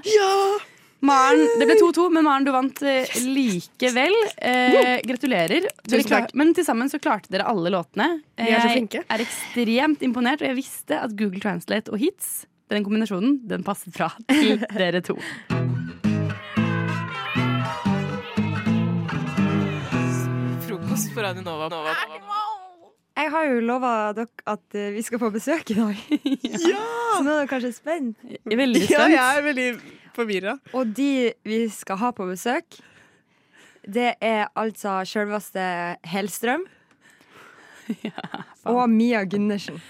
[SPEAKER 6] Maren, det ble 2-2, men Maren, du vant eh, likevel. Eh, gratulerer. Dere
[SPEAKER 19] Tusen
[SPEAKER 6] klar-
[SPEAKER 19] takk.
[SPEAKER 6] Men til sammen så klarte dere alle låtene.
[SPEAKER 19] Vi er så flinke.
[SPEAKER 6] Jeg er ekstremt imponert, og jeg visste at Google Translate og hits, den kombinasjonen, den passet fra til dere to.
[SPEAKER 23] Frokost på Radio Nova. Nova.
[SPEAKER 21] jeg har jo lova dere at eh, vi skal få besøk i dag. Så nå er dere kanskje spent?
[SPEAKER 19] veldig Ja, spent. jeg er veldig forvirra.
[SPEAKER 21] Og de vi skal ha på besøk, det er altså sjølveste Hellstrøm. og Mia Gundersen.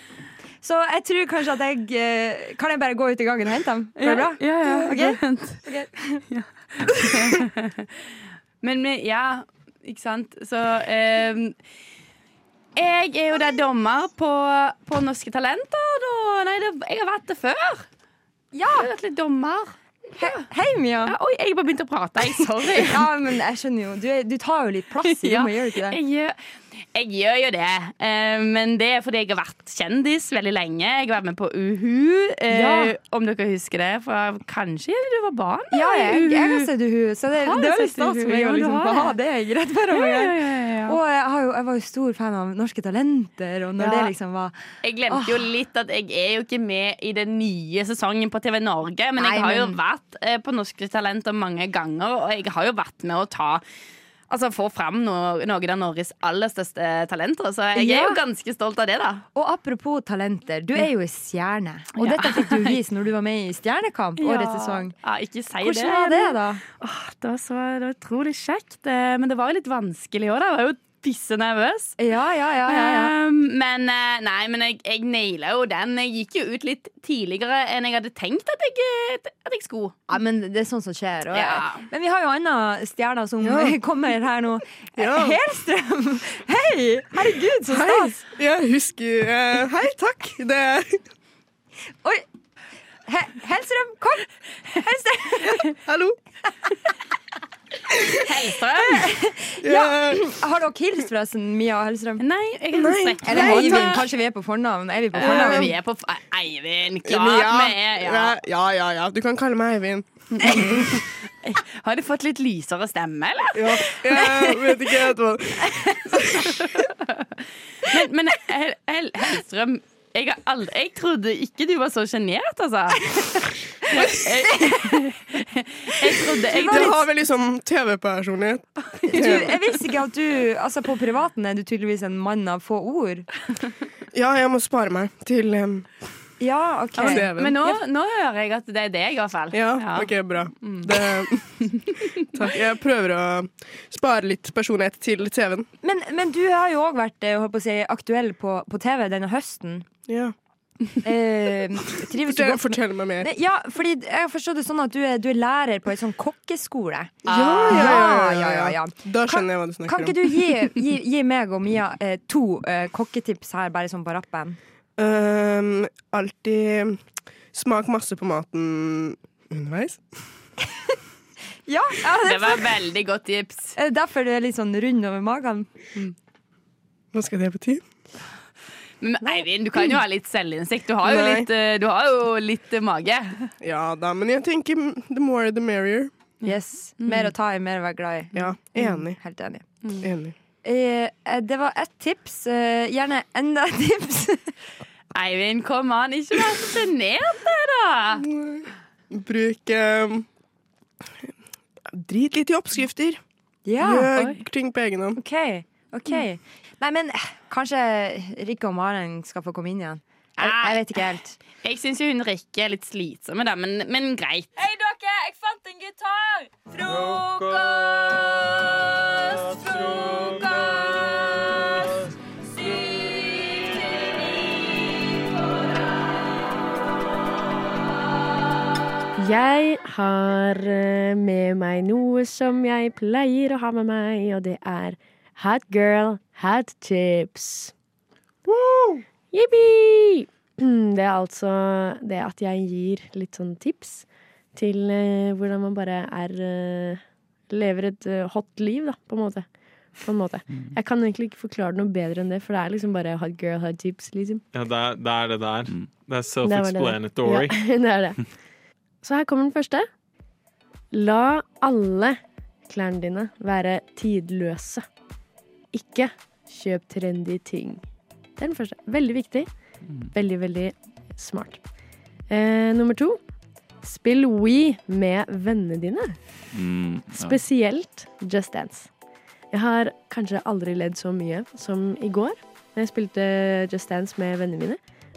[SPEAKER 21] Så jeg tror kanskje at jeg eh, Kan jeg bare gå ut i gangen og hente dem? Går det bra?
[SPEAKER 6] Ja, ja, ja.
[SPEAKER 21] Ok?
[SPEAKER 6] Vent. Men med, ja, ikke sant? Så eh, Jeg er jo der dommer på, på Norske Talenter. Da. Nei, det, jeg har vært det før. Jeg har vært litt dommer.
[SPEAKER 21] Hei, Mia.
[SPEAKER 6] Ja, oi, jeg bare begynte å prate. Jeg, sorry.
[SPEAKER 21] ja, men jeg skjønner jo. Du, er, du tar jo litt plass i
[SPEAKER 6] Ja,
[SPEAKER 21] rommet, gjør du ikke det?
[SPEAKER 6] Jeg eh, gjør, jeg gjør jo det, eh, men det er fordi jeg har vært kjendis veldig lenge. Jeg har vært med på Uhu, eh,
[SPEAKER 21] Ja.
[SPEAKER 6] om dere husker det, fra kanskje du var barn?
[SPEAKER 21] Ja,
[SPEAKER 6] da, i
[SPEAKER 21] jeg, jeg har
[SPEAKER 6] Uhu.
[SPEAKER 21] sett Uhu, så det,
[SPEAKER 6] Har du
[SPEAKER 21] det var litt
[SPEAKER 6] sett Uhu?
[SPEAKER 21] stas for meg
[SPEAKER 6] Ja,
[SPEAKER 21] å
[SPEAKER 6] du
[SPEAKER 21] liksom,
[SPEAKER 6] har
[SPEAKER 21] ha det
[SPEAKER 6] det.
[SPEAKER 21] greit foran meg.
[SPEAKER 6] Ja, ja, ja, ja.
[SPEAKER 21] Og jeg, har jo, jeg var jo stor fan av Norske Talenter, og når
[SPEAKER 6] Ja.
[SPEAKER 21] det liksom var
[SPEAKER 6] Jeg glemte jo litt at jeg er jo ikke med i den nye sesongen på TV Norge, men
[SPEAKER 21] Nei,
[SPEAKER 6] jeg har jo
[SPEAKER 21] men-
[SPEAKER 6] vært eh, på Norske Talenter mange ganger, og jeg har jo vært med å ta Altså få fram noe, noen av Norges aller største talenter, så jeg er
[SPEAKER 21] Ja.
[SPEAKER 6] jo ganske stolt av det, da.
[SPEAKER 21] Og apropos talenter, du er jo en stjerne. Og dette fikk du vist når du var med i Stjernekamp årets
[SPEAKER 6] Ja.
[SPEAKER 21] sesong.
[SPEAKER 6] Ja, ikke si
[SPEAKER 21] Hvordan
[SPEAKER 6] det.
[SPEAKER 21] var det, da?
[SPEAKER 6] Åh, det, var så, det var utrolig kjekt, eh, men det var jo litt vanskelig òg. Jeg var jo pisse nervøs.
[SPEAKER 21] Ja, ja, ja. ja, ja.
[SPEAKER 6] Um, Men, eh, nei, men jeg, jeg naila jo den. Jeg gikk jo ut litt tidligere enn jeg hadde tenkt at jeg, eh, at jeg skulle.
[SPEAKER 21] Ja, men det er sånt som skjer. Og,
[SPEAKER 6] Ja.
[SPEAKER 21] Men vi har jo andre stjerner som
[SPEAKER 6] Ja.
[SPEAKER 21] kommer her nå.
[SPEAKER 19] Ja.
[SPEAKER 21] Helstrøm! Hei! Herregud, så stas!
[SPEAKER 19] Jeg husker eh, Hei, takk. Det
[SPEAKER 21] Oi! He Hellstrøm, kom! Hellstrøm!
[SPEAKER 19] Hallo.
[SPEAKER 6] Hellstrøm!
[SPEAKER 21] ja. Har dere hilst forresten, Mia og Hellstrøm?
[SPEAKER 6] Nei, jeg har ikke sett
[SPEAKER 21] Eller
[SPEAKER 6] Nei,
[SPEAKER 21] Eivind,
[SPEAKER 6] takk.
[SPEAKER 21] kanskje vi er på fornavn? Er vi på
[SPEAKER 6] Ja,
[SPEAKER 21] fornavn?
[SPEAKER 6] men vi er på f- Eivind, klart vi er ja.
[SPEAKER 19] ja, ja, ja, ja. Du kan kalle meg Eivind.
[SPEAKER 6] Har du fått litt lysere stemme, eller?
[SPEAKER 19] Ja, jeg vet ikke helt hva
[SPEAKER 6] Men, men Hel- Hel- Hellstrøm, jeg, har aldri, jeg trodde ikke du var så sjenert, altså. Jeg, jeg, jeg trodde jeg,
[SPEAKER 19] Du har veldig sånn TV-personlighet.
[SPEAKER 21] Du, jeg visste ikke at du Altså, på privaten er du tydeligvis en mann av få ord.
[SPEAKER 19] Ja, jeg må spare meg til um,
[SPEAKER 21] Ja, OK.
[SPEAKER 6] Ja, men, men nå, nå hører jeg at det er deg, i hvert fall.
[SPEAKER 19] Ja, OK, bra. Det, takk. Jeg prøver å spare litt personlighet til TV-en.
[SPEAKER 21] Men, men du har jo òg vært eh, holdt på å si, aktuell på, på TV denne høsten.
[SPEAKER 19] Ja.
[SPEAKER 21] Eh, trives du
[SPEAKER 19] Fortell-
[SPEAKER 21] godt med-
[SPEAKER 19] fortell meg mer.
[SPEAKER 21] Nei, Ja, fordi jeg forstår det sånn at du er, du er lærer på en sånn kokkeskole.
[SPEAKER 19] Da skjønner jeg hva du snakker om.
[SPEAKER 21] Kan ikke du gi, gi, gi meg og Mia eh, to eh, kokketips her, bare sånn på rappen?
[SPEAKER 19] Um, alltid smak masse på maten underveis.
[SPEAKER 21] Ja, ja
[SPEAKER 6] Det var veldig godt tips.
[SPEAKER 21] Eh, Derfor du er litt sånn rund over magen.
[SPEAKER 19] Hva skal det bety?
[SPEAKER 6] Men Eivind, du kan jo ha litt selvinnsikt. Du har jo
[SPEAKER 19] Nei.
[SPEAKER 6] litt, eh, du har jo litt eh, mage.
[SPEAKER 19] Ja da, men jeg tenker the more the merrier.
[SPEAKER 21] Yes. Mer å ta i, mer å være glad i. Mm,
[SPEAKER 19] Ja, enig.
[SPEAKER 21] Helt enig.
[SPEAKER 19] Enig.
[SPEAKER 21] Eh, eh, det var ett tips. Eh, gjerne enda et tips.
[SPEAKER 6] Eivind, kom an, ikke vær så sjenert, da!
[SPEAKER 19] Bruk um, Drit litt i oppskrifter.
[SPEAKER 21] Ja.
[SPEAKER 19] Gjør
[SPEAKER 21] Oi.
[SPEAKER 19] ting på egen hånd.
[SPEAKER 21] OK. ok Nei, men eh, kanskje Rikke og Maren skal få komme inn igjen. Jeg, jeg vet ikke helt.
[SPEAKER 6] Jeg syns jo hun Rikke er litt slitsom med det, men, men greit.
[SPEAKER 7] Hei, dere! Jeg fant en gitar! Frokost, frokost. Syv til ni på
[SPEAKER 5] Jeg har eh, med meg noe som jeg pleier å ha med meg, og det er Hot Girl Hat Tips. Jippi! Det er altså det at jeg gir litt sånn tips til eh, hvordan man bare er eh, Lever et eh, hot liv, da, på en måte. På en måte. Jeg kan egentlig ikke forklare det noe bedre enn det, for det er liksom bare hot girl, hot tips, liksom.
[SPEAKER 24] Ja, det er det er det der. Det er
[SPEAKER 5] Det var det der.
[SPEAKER 24] self-explanatory.
[SPEAKER 5] Ja, det er det. Så her kommer den første. La alle klærne dine være tidløse. Ikke kjøp trendy ting. Det er den første. Veldig viktig. Veldig, veldig smart. Eh, nummer to. Spill We med vennene dine.
[SPEAKER 15] Mm,
[SPEAKER 5] Spesielt Just Dance. Jeg har kanskje aldri ledd så mye som i går. når jeg spilte Just Dance med vennene mine.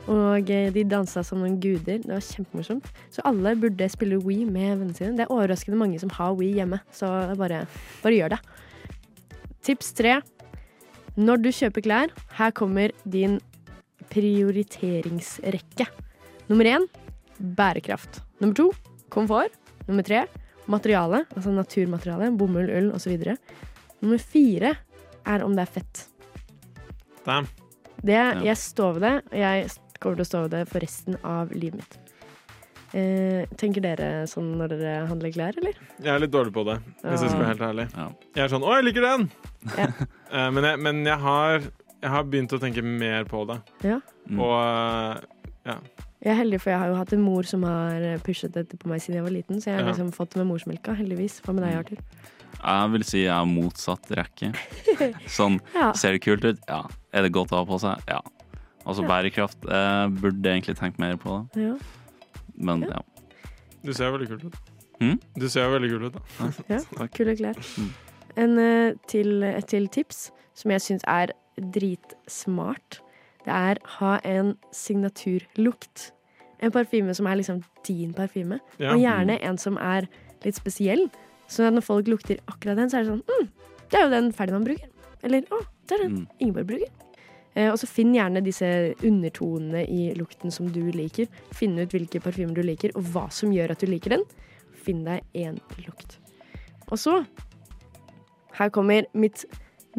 [SPEAKER 5] Og eh, de dansa som noen guder. Det var kjempemorsomt. Så alle burde spille We med vennene sine. Det er overraskende mange som har We hjemme, så bare, bare gjør det. Tips tre. Når du kjøper klær, her kommer din prioriteringsrekke. Nummer én bærekraft. Nummer to komfort. Nummer tre materiale, altså naturmateriale. Bomull, ull osv. Nummer fire er om det er fett.
[SPEAKER 24] Damn.
[SPEAKER 5] Det, Jeg står ved det, og jeg kommer til å stå ved det for resten av livet mitt. Eh, tenker dere sånn når dere handler klær, eller?
[SPEAKER 24] Jeg er litt dårlig på det, hvis jeg skal være helt ærlig. Jeg er sånn 'Å, jeg liker den!' Eh, men jeg, men jeg, har, jeg har begynt å tenke mer på det.
[SPEAKER 5] Ja.
[SPEAKER 24] Og eh, ja.
[SPEAKER 5] Jeg er heldig, for jeg har jo hatt en mor som har eh, pushet dette på meg siden jeg var liten, så jeg har
[SPEAKER 15] Ja.
[SPEAKER 5] liksom fått det med morsmelka, heldigvis. Hva med deg, Arthur?
[SPEAKER 15] Jeg vil si jeg er motsatt rekke. Sånn,
[SPEAKER 5] Ja.
[SPEAKER 15] ser det kult ut? Ja. Er det godt å ha på seg? Ja. Altså
[SPEAKER 5] Ja.
[SPEAKER 15] bærekraft. Jeg burde egentlig tenkt mer på det,
[SPEAKER 5] Ja.
[SPEAKER 15] men ja.
[SPEAKER 24] Du ser veldig kul ut.
[SPEAKER 15] Mm?
[SPEAKER 24] Du ser veldig kul ut, da.
[SPEAKER 5] Ja, Mm. kule klær. En eh, til, et til tips som jeg syns er dritsmart. Det er ha en signaturlukt. En parfyme som er liksom din parfyme.
[SPEAKER 1] Ja.
[SPEAKER 5] Og gjerne en som er litt spesiell. Så når folk lukter akkurat den, så er det sånn mm, Det er jo den Ferdinand bruker. Eller å, det er den Ingeborg bruker. Eh, og så finn gjerne disse undertonene i lukten som du liker. Finn ut hvilke parfymer du liker, og hva som gjør at du liker den. Finn deg én lukt. Og så Her kommer mitt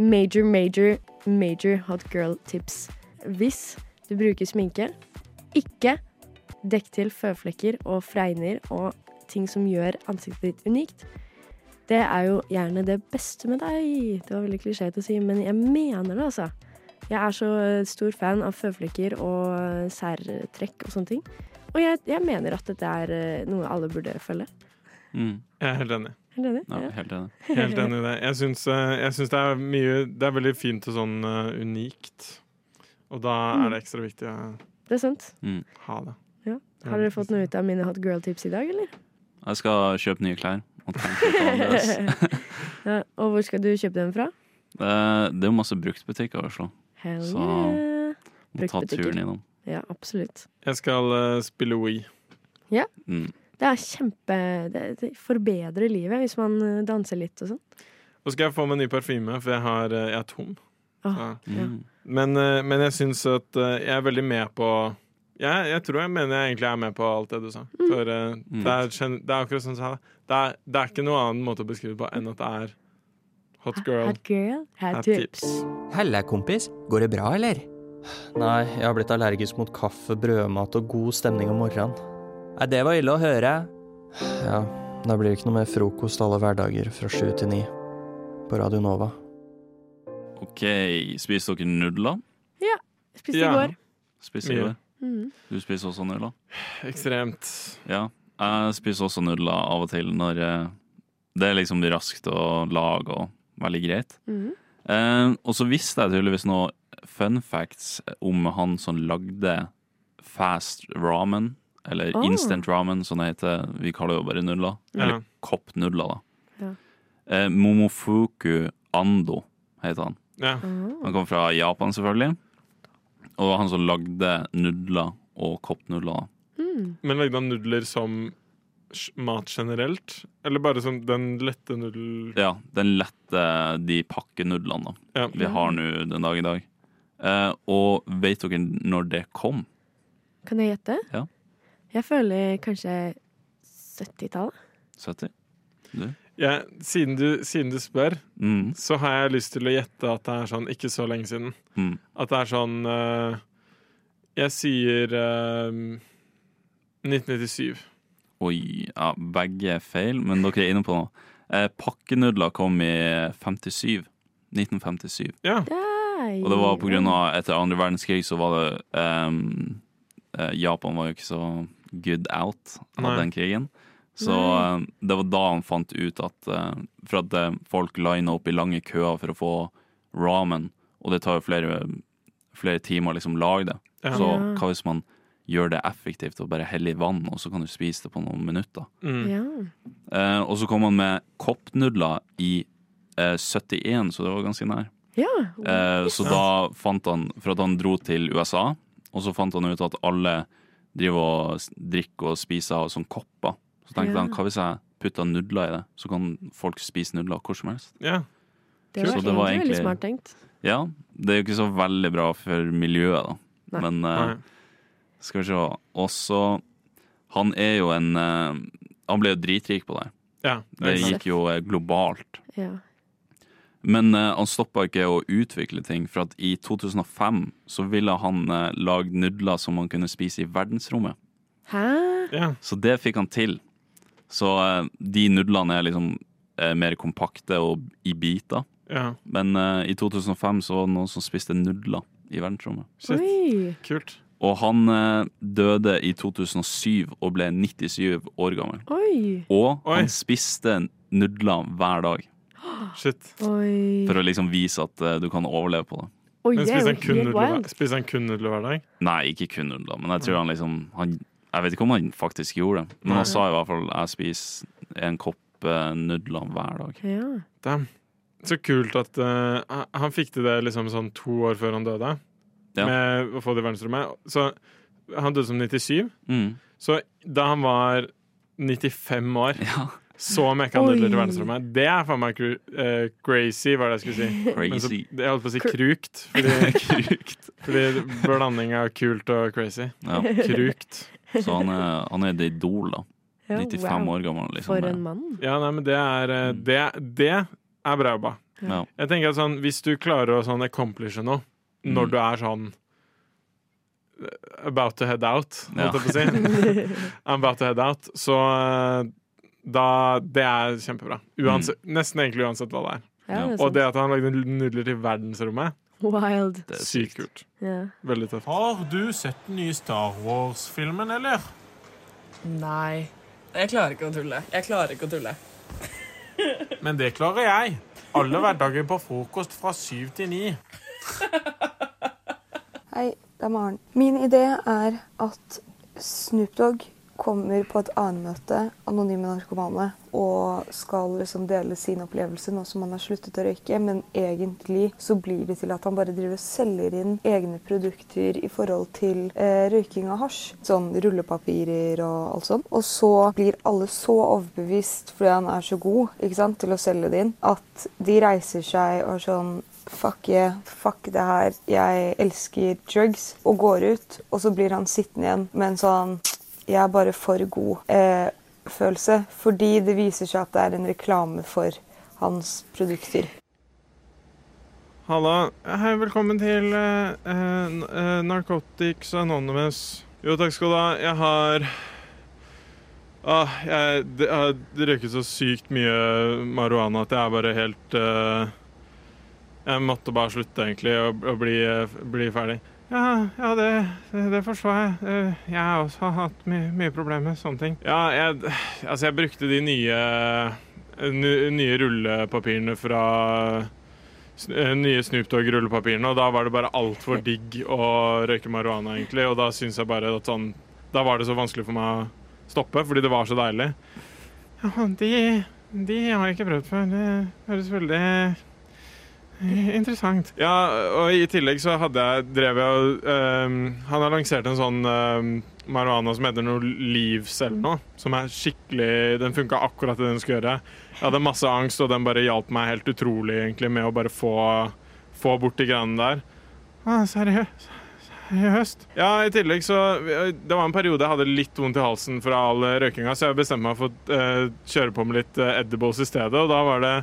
[SPEAKER 5] major, major, major hot girl-tips. Hvis du bruker sminke, ikke dekk til føflekker og fregner og ting som gjør ansiktet ditt unikt. Det er jo gjerne det beste med deg. Det var veldig klisjé til å si, men jeg mener det, altså. Jeg er så eh, stor fan av føflekker og eh, særtrekk og sånne ting. Og jeg, jeg mener at dette er eh, noe alle burde følge.
[SPEAKER 24] Jeg er helt enig.
[SPEAKER 5] Er dere enig? Ja.
[SPEAKER 15] helt enig.
[SPEAKER 24] Helt enig i det. Jeg syns, eh, jeg syns det er mye Det er veldig fint og sånn eh, unikt. Og da
[SPEAKER 5] Mm.
[SPEAKER 24] er det ekstra viktig å
[SPEAKER 5] Det er sant.
[SPEAKER 24] ha det.
[SPEAKER 5] Ja. Har dere fått noe ut av mine hot girl-tips i dag, eller?
[SPEAKER 15] Jeg skal kjøpe nye klær. Og tenke litt annerledes.
[SPEAKER 5] ja, og hvor skal du kjøpe dem fra?
[SPEAKER 15] det det er jo masse bruktbutikker i Oslo.
[SPEAKER 5] Hell
[SPEAKER 15] Så må
[SPEAKER 5] yeah.
[SPEAKER 15] ta
[SPEAKER 5] Bruktbutikker.
[SPEAKER 15] turen innom.
[SPEAKER 5] Ja, absolutt.
[SPEAKER 24] Jeg skal eh, spille We.
[SPEAKER 5] Ja. Det er kjempe Det, det forbedrer livet hvis man eh, danser litt og sånn.
[SPEAKER 24] Og skal jeg få meg ny parfyme, for jeg, har, eh, jeg er tom.
[SPEAKER 5] Åh,
[SPEAKER 24] Så-
[SPEAKER 5] ja.
[SPEAKER 24] Men, eh, men jeg syns at eh, jeg er veldig med på jeg, jeg tror jeg mener jeg egentlig er med på alt det du sa. For eh, det, er, gen- det er akkurat sånn som jeg sa det. Det er, det er ikke noen annen måte å beskrive det på enn at det er hot girl.
[SPEAKER 5] Hot girl had
[SPEAKER 24] Hat
[SPEAKER 5] tips.
[SPEAKER 10] Helle, kompis. Går det bra, eller? Nei, jeg har blitt allergisk mot kaffe, brødmat og god stemning om morgenen. Nei, det var ille å høre. Ja, da blir det ikke noe mer frokost alle hverdager fra sju til ni. På Radio Nova.
[SPEAKER 15] OK, spiser dere nudler?
[SPEAKER 5] Ja. Spiste i går.
[SPEAKER 15] Spiser
[SPEAKER 24] Mye.
[SPEAKER 15] dere?
[SPEAKER 5] Mhm.
[SPEAKER 15] Du spiser også nudler?
[SPEAKER 24] Ekstremt.
[SPEAKER 15] Ja. Jeg spiser også nudler av og til når eh, det er liksom raskt å lage og veldig greit.
[SPEAKER 5] Mhm.
[SPEAKER 15] Eh, og så visste jeg tydeligvis noe fun facts om han som lagde fast ramen, eller
[SPEAKER 5] Oh.
[SPEAKER 15] instant ramen, som det heter. Vi kaller det jo bare nudler.
[SPEAKER 5] Ja.
[SPEAKER 15] Eller koppnudler, da.
[SPEAKER 5] Ja.
[SPEAKER 15] Eh, Momofuku Ando heter han.
[SPEAKER 24] Ja.
[SPEAKER 15] Han kom fra Japan, selvfølgelig. Og han som lagde nudler og koppnudler. da.
[SPEAKER 24] Men lagde han nudler som sj- mat generelt? Eller bare som den lette nudel...
[SPEAKER 15] Ja, den lette de pakkenudlene da.
[SPEAKER 24] Ja.
[SPEAKER 15] vi har nå den dag i dag. Eh, og vet dere når det kom?
[SPEAKER 5] Kan jeg gjette?
[SPEAKER 15] Ja.
[SPEAKER 5] Jeg føler kanskje 70-tallet.
[SPEAKER 15] 70? Du?
[SPEAKER 24] Ja, siden, du, siden du spør,
[SPEAKER 15] Mm.
[SPEAKER 24] så har jeg lyst til å gjette at det er sånn ikke så lenge siden.
[SPEAKER 15] Mm.
[SPEAKER 24] At det er sånn eh, Jeg sier eh, 1997.
[SPEAKER 15] Oi, ja, begge er feil, men dere er inne på noe. Eh, pakkenudler kom i 57. 1957.
[SPEAKER 24] Ja.
[SPEAKER 15] Og det var på grunn av etter andre verdenskrig så var det ehm, eh, Japan var jo ikke så good out av
[SPEAKER 24] Nei.
[SPEAKER 15] den krigen. Så
[SPEAKER 24] Nei.
[SPEAKER 15] eh, det var da han fant ut at eh, For at eh, folk lina opp i lange køer for å få ramen, og det tar jo flere, flere timer å liksom lage det.
[SPEAKER 24] Ja.
[SPEAKER 15] Så
[SPEAKER 24] Ja.
[SPEAKER 15] hva hvis man gjør det effektivt og bare heller i vann, og så kan du spise det på noen minutter?
[SPEAKER 24] Mm.
[SPEAKER 15] Eh, og så kom han med koppnudler i eh, 71, så det var ganske nær.
[SPEAKER 5] Ja.
[SPEAKER 15] Eh, så da fant han For at han dro til USA, og så fant han ut at alle driver og s- drikker og spiser av sånn kopper. Så tenkte
[SPEAKER 24] Ja.
[SPEAKER 15] han hva hvis jeg putter nudler i det, så kan folk spise nudler hvor som helst.
[SPEAKER 24] Ja.
[SPEAKER 5] Det var
[SPEAKER 15] Så
[SPEAKER 5] egentlig veldig smart tenkt.
[SPEAKER 15] Ja, det er jo ikke så veldig bra for miljøet, da.
[SPEAKER 5] Nei.
[SPEAKER 15] Men eh, skal vi se Også Han er jo en eh, Han ble jo dritrik på det.
[SPEAKER 24] Ja,
[SPEAKER 15] det
[SPEAKER 24] det er sant.
[SPEAKER 15] gikk jo eh, globalt.
[SPEAKER 5] Ja.
[SPEAKER 15] Men eh, han stoppa ikke å utvikle ting, for at i 2005 så ville han eh, lage nudler som man kunne spise i verdensrommet.
[SPEAKER 5] Hæ?
[SPEAKER 15] Så det fikk han til. Så eh, de nudlene er liksom eh, mer kompakte og i biter.
[SPEAKER 24] Ja.
[SPEAKER 15] Men eh, i 2005 så var det noen som spiste nudler i verdensrommet.
[SPEAKER 24] Shit. Kult.
[SPEAKER 15] Og han eh, døde i 2007 og ble 97 år gammel.
[SPEAKER 5] Oi.
[SPEAKER 15] Og han spiste nudler hver dag
[SPEAKER 24] Shit. Mm.
[SPEAKER 5] Ah. Oi.
[SPEAKER 15] for å liksom vise at eh, du kan overleve på det.
[SPEAKER 5] Oi,
[SPEAKER 24] Men
[SPEAKER 5] det er
[SPEAKER 24] spiser
[SPEAKER 5] jo
[SPEAKER 24] han kun
[SPEAKER 5] helt
[SPEAKER 24] nudler
[SPEAKER 5] wild.
[SPEAKER 24] hver- spiser han kun nudler hver dag?
[SPEAKER 15] Nei, ikke kun nudler, men jeg tror han liksom han, Jeg vet ikke om han faktisk gjorde det, men
[SPEAKER 24] Nei.
[SPEAKER 15] han sa i hvert fall jeg spiser en kopp eh, nudler hver dag.
[SPEAKER 5] Ja.
[SPEAKER 24] Damn. Så kult at eh, han- han fikk til det liksom sånn to år før han døde,
[SPEAKER 15] Ja.
[SPEAKER 24] med å få det i verdensrommet. Så han døde som 97.
[SPEAKER 15] Mm.
[SPEAKER 24] Så da han var 95 år, så mekka han
[SPEAKER 15] Oi.
[SPEAKER 24] nudler til verdensrommet. Det er faen meg cru- eh, crazy, var det jeg skulle si.
[SPEAKER 15] Crazy.
[SPEAKER 24] Men så, jeg holdt på å si
[SPEAKER 15] Cr-
[SPEAKER 24] krukt. Fordi, fordi blanding av kult og crazy.
[SPEAKER 15] Ja.
[SPEAKER 24] Krukt.
[SPEAKER 15] Så han er, han er et idol, da.
[SPEAKER 24] Ja,
[SPEAKER 15] 95
[SPEAKER 24] wow.
[SPEAKER 15] år gammel. Liksom.
[SPEAKER 5] For en mann.
[SPEAKER 24] Ja, nei, men det er eh, Det, det er bra jobba.
[SPEAKER 15] Ja.
[SPEAKER 24] Jeg tenker at sånn, Hvis du klarer å sånn accomplishe noe når
[SPEAKER 15] Mm.
[SPEAKER 24] du er sånn eh, About to head out,
[SPEAKER 15] Ja.
[SPEAKER 24] holdt jeg på å si. I'm about to head out. Så eh, da Det er kjempebra. Uansett, Nesten egentlig uansett hva det er.
[SPEAKER 5] Ja, det er sant.
[SPEAKER 24] Og det at han lagde nudler til verdensrommet,
[SPEAKER 5] Wild.
[SPEAKER 24] sykt kult.
[SPEAKER 5] Ja.
[SPEAKER 24] Veldig tøft.
[SPEAKER 1] Har du sett den nye Star Wars-filmen, eller?
[SPEAKER 11] Nei. Jeg klarer ikke å tulle. Jeg klarer ikke å tulle.
[SPEAKER 1] Men det klarer jeg. Alle hverdager på frokost fra syv til ni.
[SPEAKER 25] Hei, det er Maren. Min idé er at Snoop Dogg kommer på et anmøte, anonyme narkomane, og skal liksom dele sin opplevelse nå som han har sluttet å røyke. Men egentlig så blir det til at han bare driver og selger inn egne produkter i forhold til eh, røyking av hasj. Sånn rullepapirer og alt sånt. Og så blir alle så overbevist fordi han er så god ikke sant, til å selge det inn, at de reiser seg og er sånn Fuck yeah, fuck det her, jeg elsker drugs. Og går ut, og så blir han sittende igjen med en sånn Jeg er bare for god eh, følelse. Fordi det viser seg at det er en reklame for hans produkter.
[SPEAKER 24] Halla. Hei, velkommen til eh, eh, n- eh, Narcotics Anonymous. Jo, takk skal du ha. Jeg har Ah, jeg, det, jeg har røyket så sykt mye marihuana at jeg er bare helt eh, Jeg måtte bare slutte, egentlig, og, og bli, eh, bli ferdig. Ja, ja det, det forstår jeg. Eh, Jeg har også hatt mye, mye problemer med sånne ting. Ja, jeg, altså jeg brukte de nye, ny- nye rullepapirene fra sn- eh, nye Snoop Dogg-rullepapirene, og da var det bare altfor digg å røyke marihuana, egentlig. Og da syns jeg bare at sånn Da var det så vanskelig for meg å stoppe, fordi det var så deilig. Ja, de, de har jeg ikke prøvd før. Det høres veldig interessant. Ja, og i tillegg så hadde jeg drev jeg og ehm, Han har lansert en sånn ehm, marihuana som heter noe Leaves eller noe. Som er skikkelig Den funka akkurat det den skulle gjøre. Jeg hadde masse angst, og den bare hjalp meg helt utrolig egentlig med å bare få, få bort de greiene der. Ah, seriøst? Seriøst? Ja, i tillegg så Det var en periode jeg hadde litt vondt i halsen fra all røykinga, så jeg bestemte meg for å eh, kjøre på med litt eh, edibles i stedet, og da var det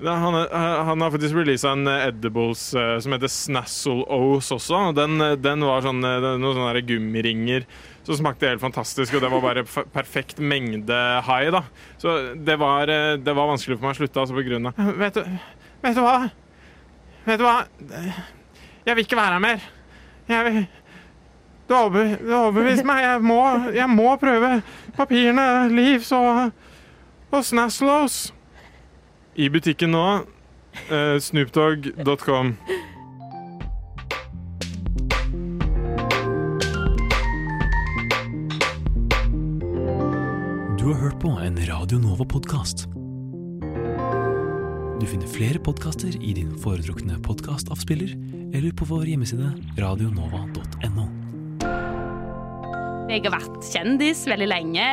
[SPEAKER 24] da, han, eh, han har faktisk releasa en eh, edibles eh, som heter Snazzle O's også. og Den, eh, den var sånn, eh, den- noen sånne der gummiringer som smakte helt fantastisk, og det var bare f- perfekt mengde high, da. Så det var, eh, det var vanskelig for meg å slutte, altså på grunn av Vet du, vet du hva? Vet du hva? Jeg vil ikke være her mer. Jeg vil Du har overbe- du har overbevist meg. Jeg må, jeg må prøve papirene, Leaves og, og Snaslows. I butikken nå. eh, Snoopdogg.com.
[SPEAKER 26] Du har hørt på en Radio Nova-podkast.
[SPEAKER 4] Du finner flere podkaster i din foretrukne podkastavspiller eller på vår hjemmeside radionova.no.
[SPEAKER 6] Jeg har vært kjendis veldig lenge.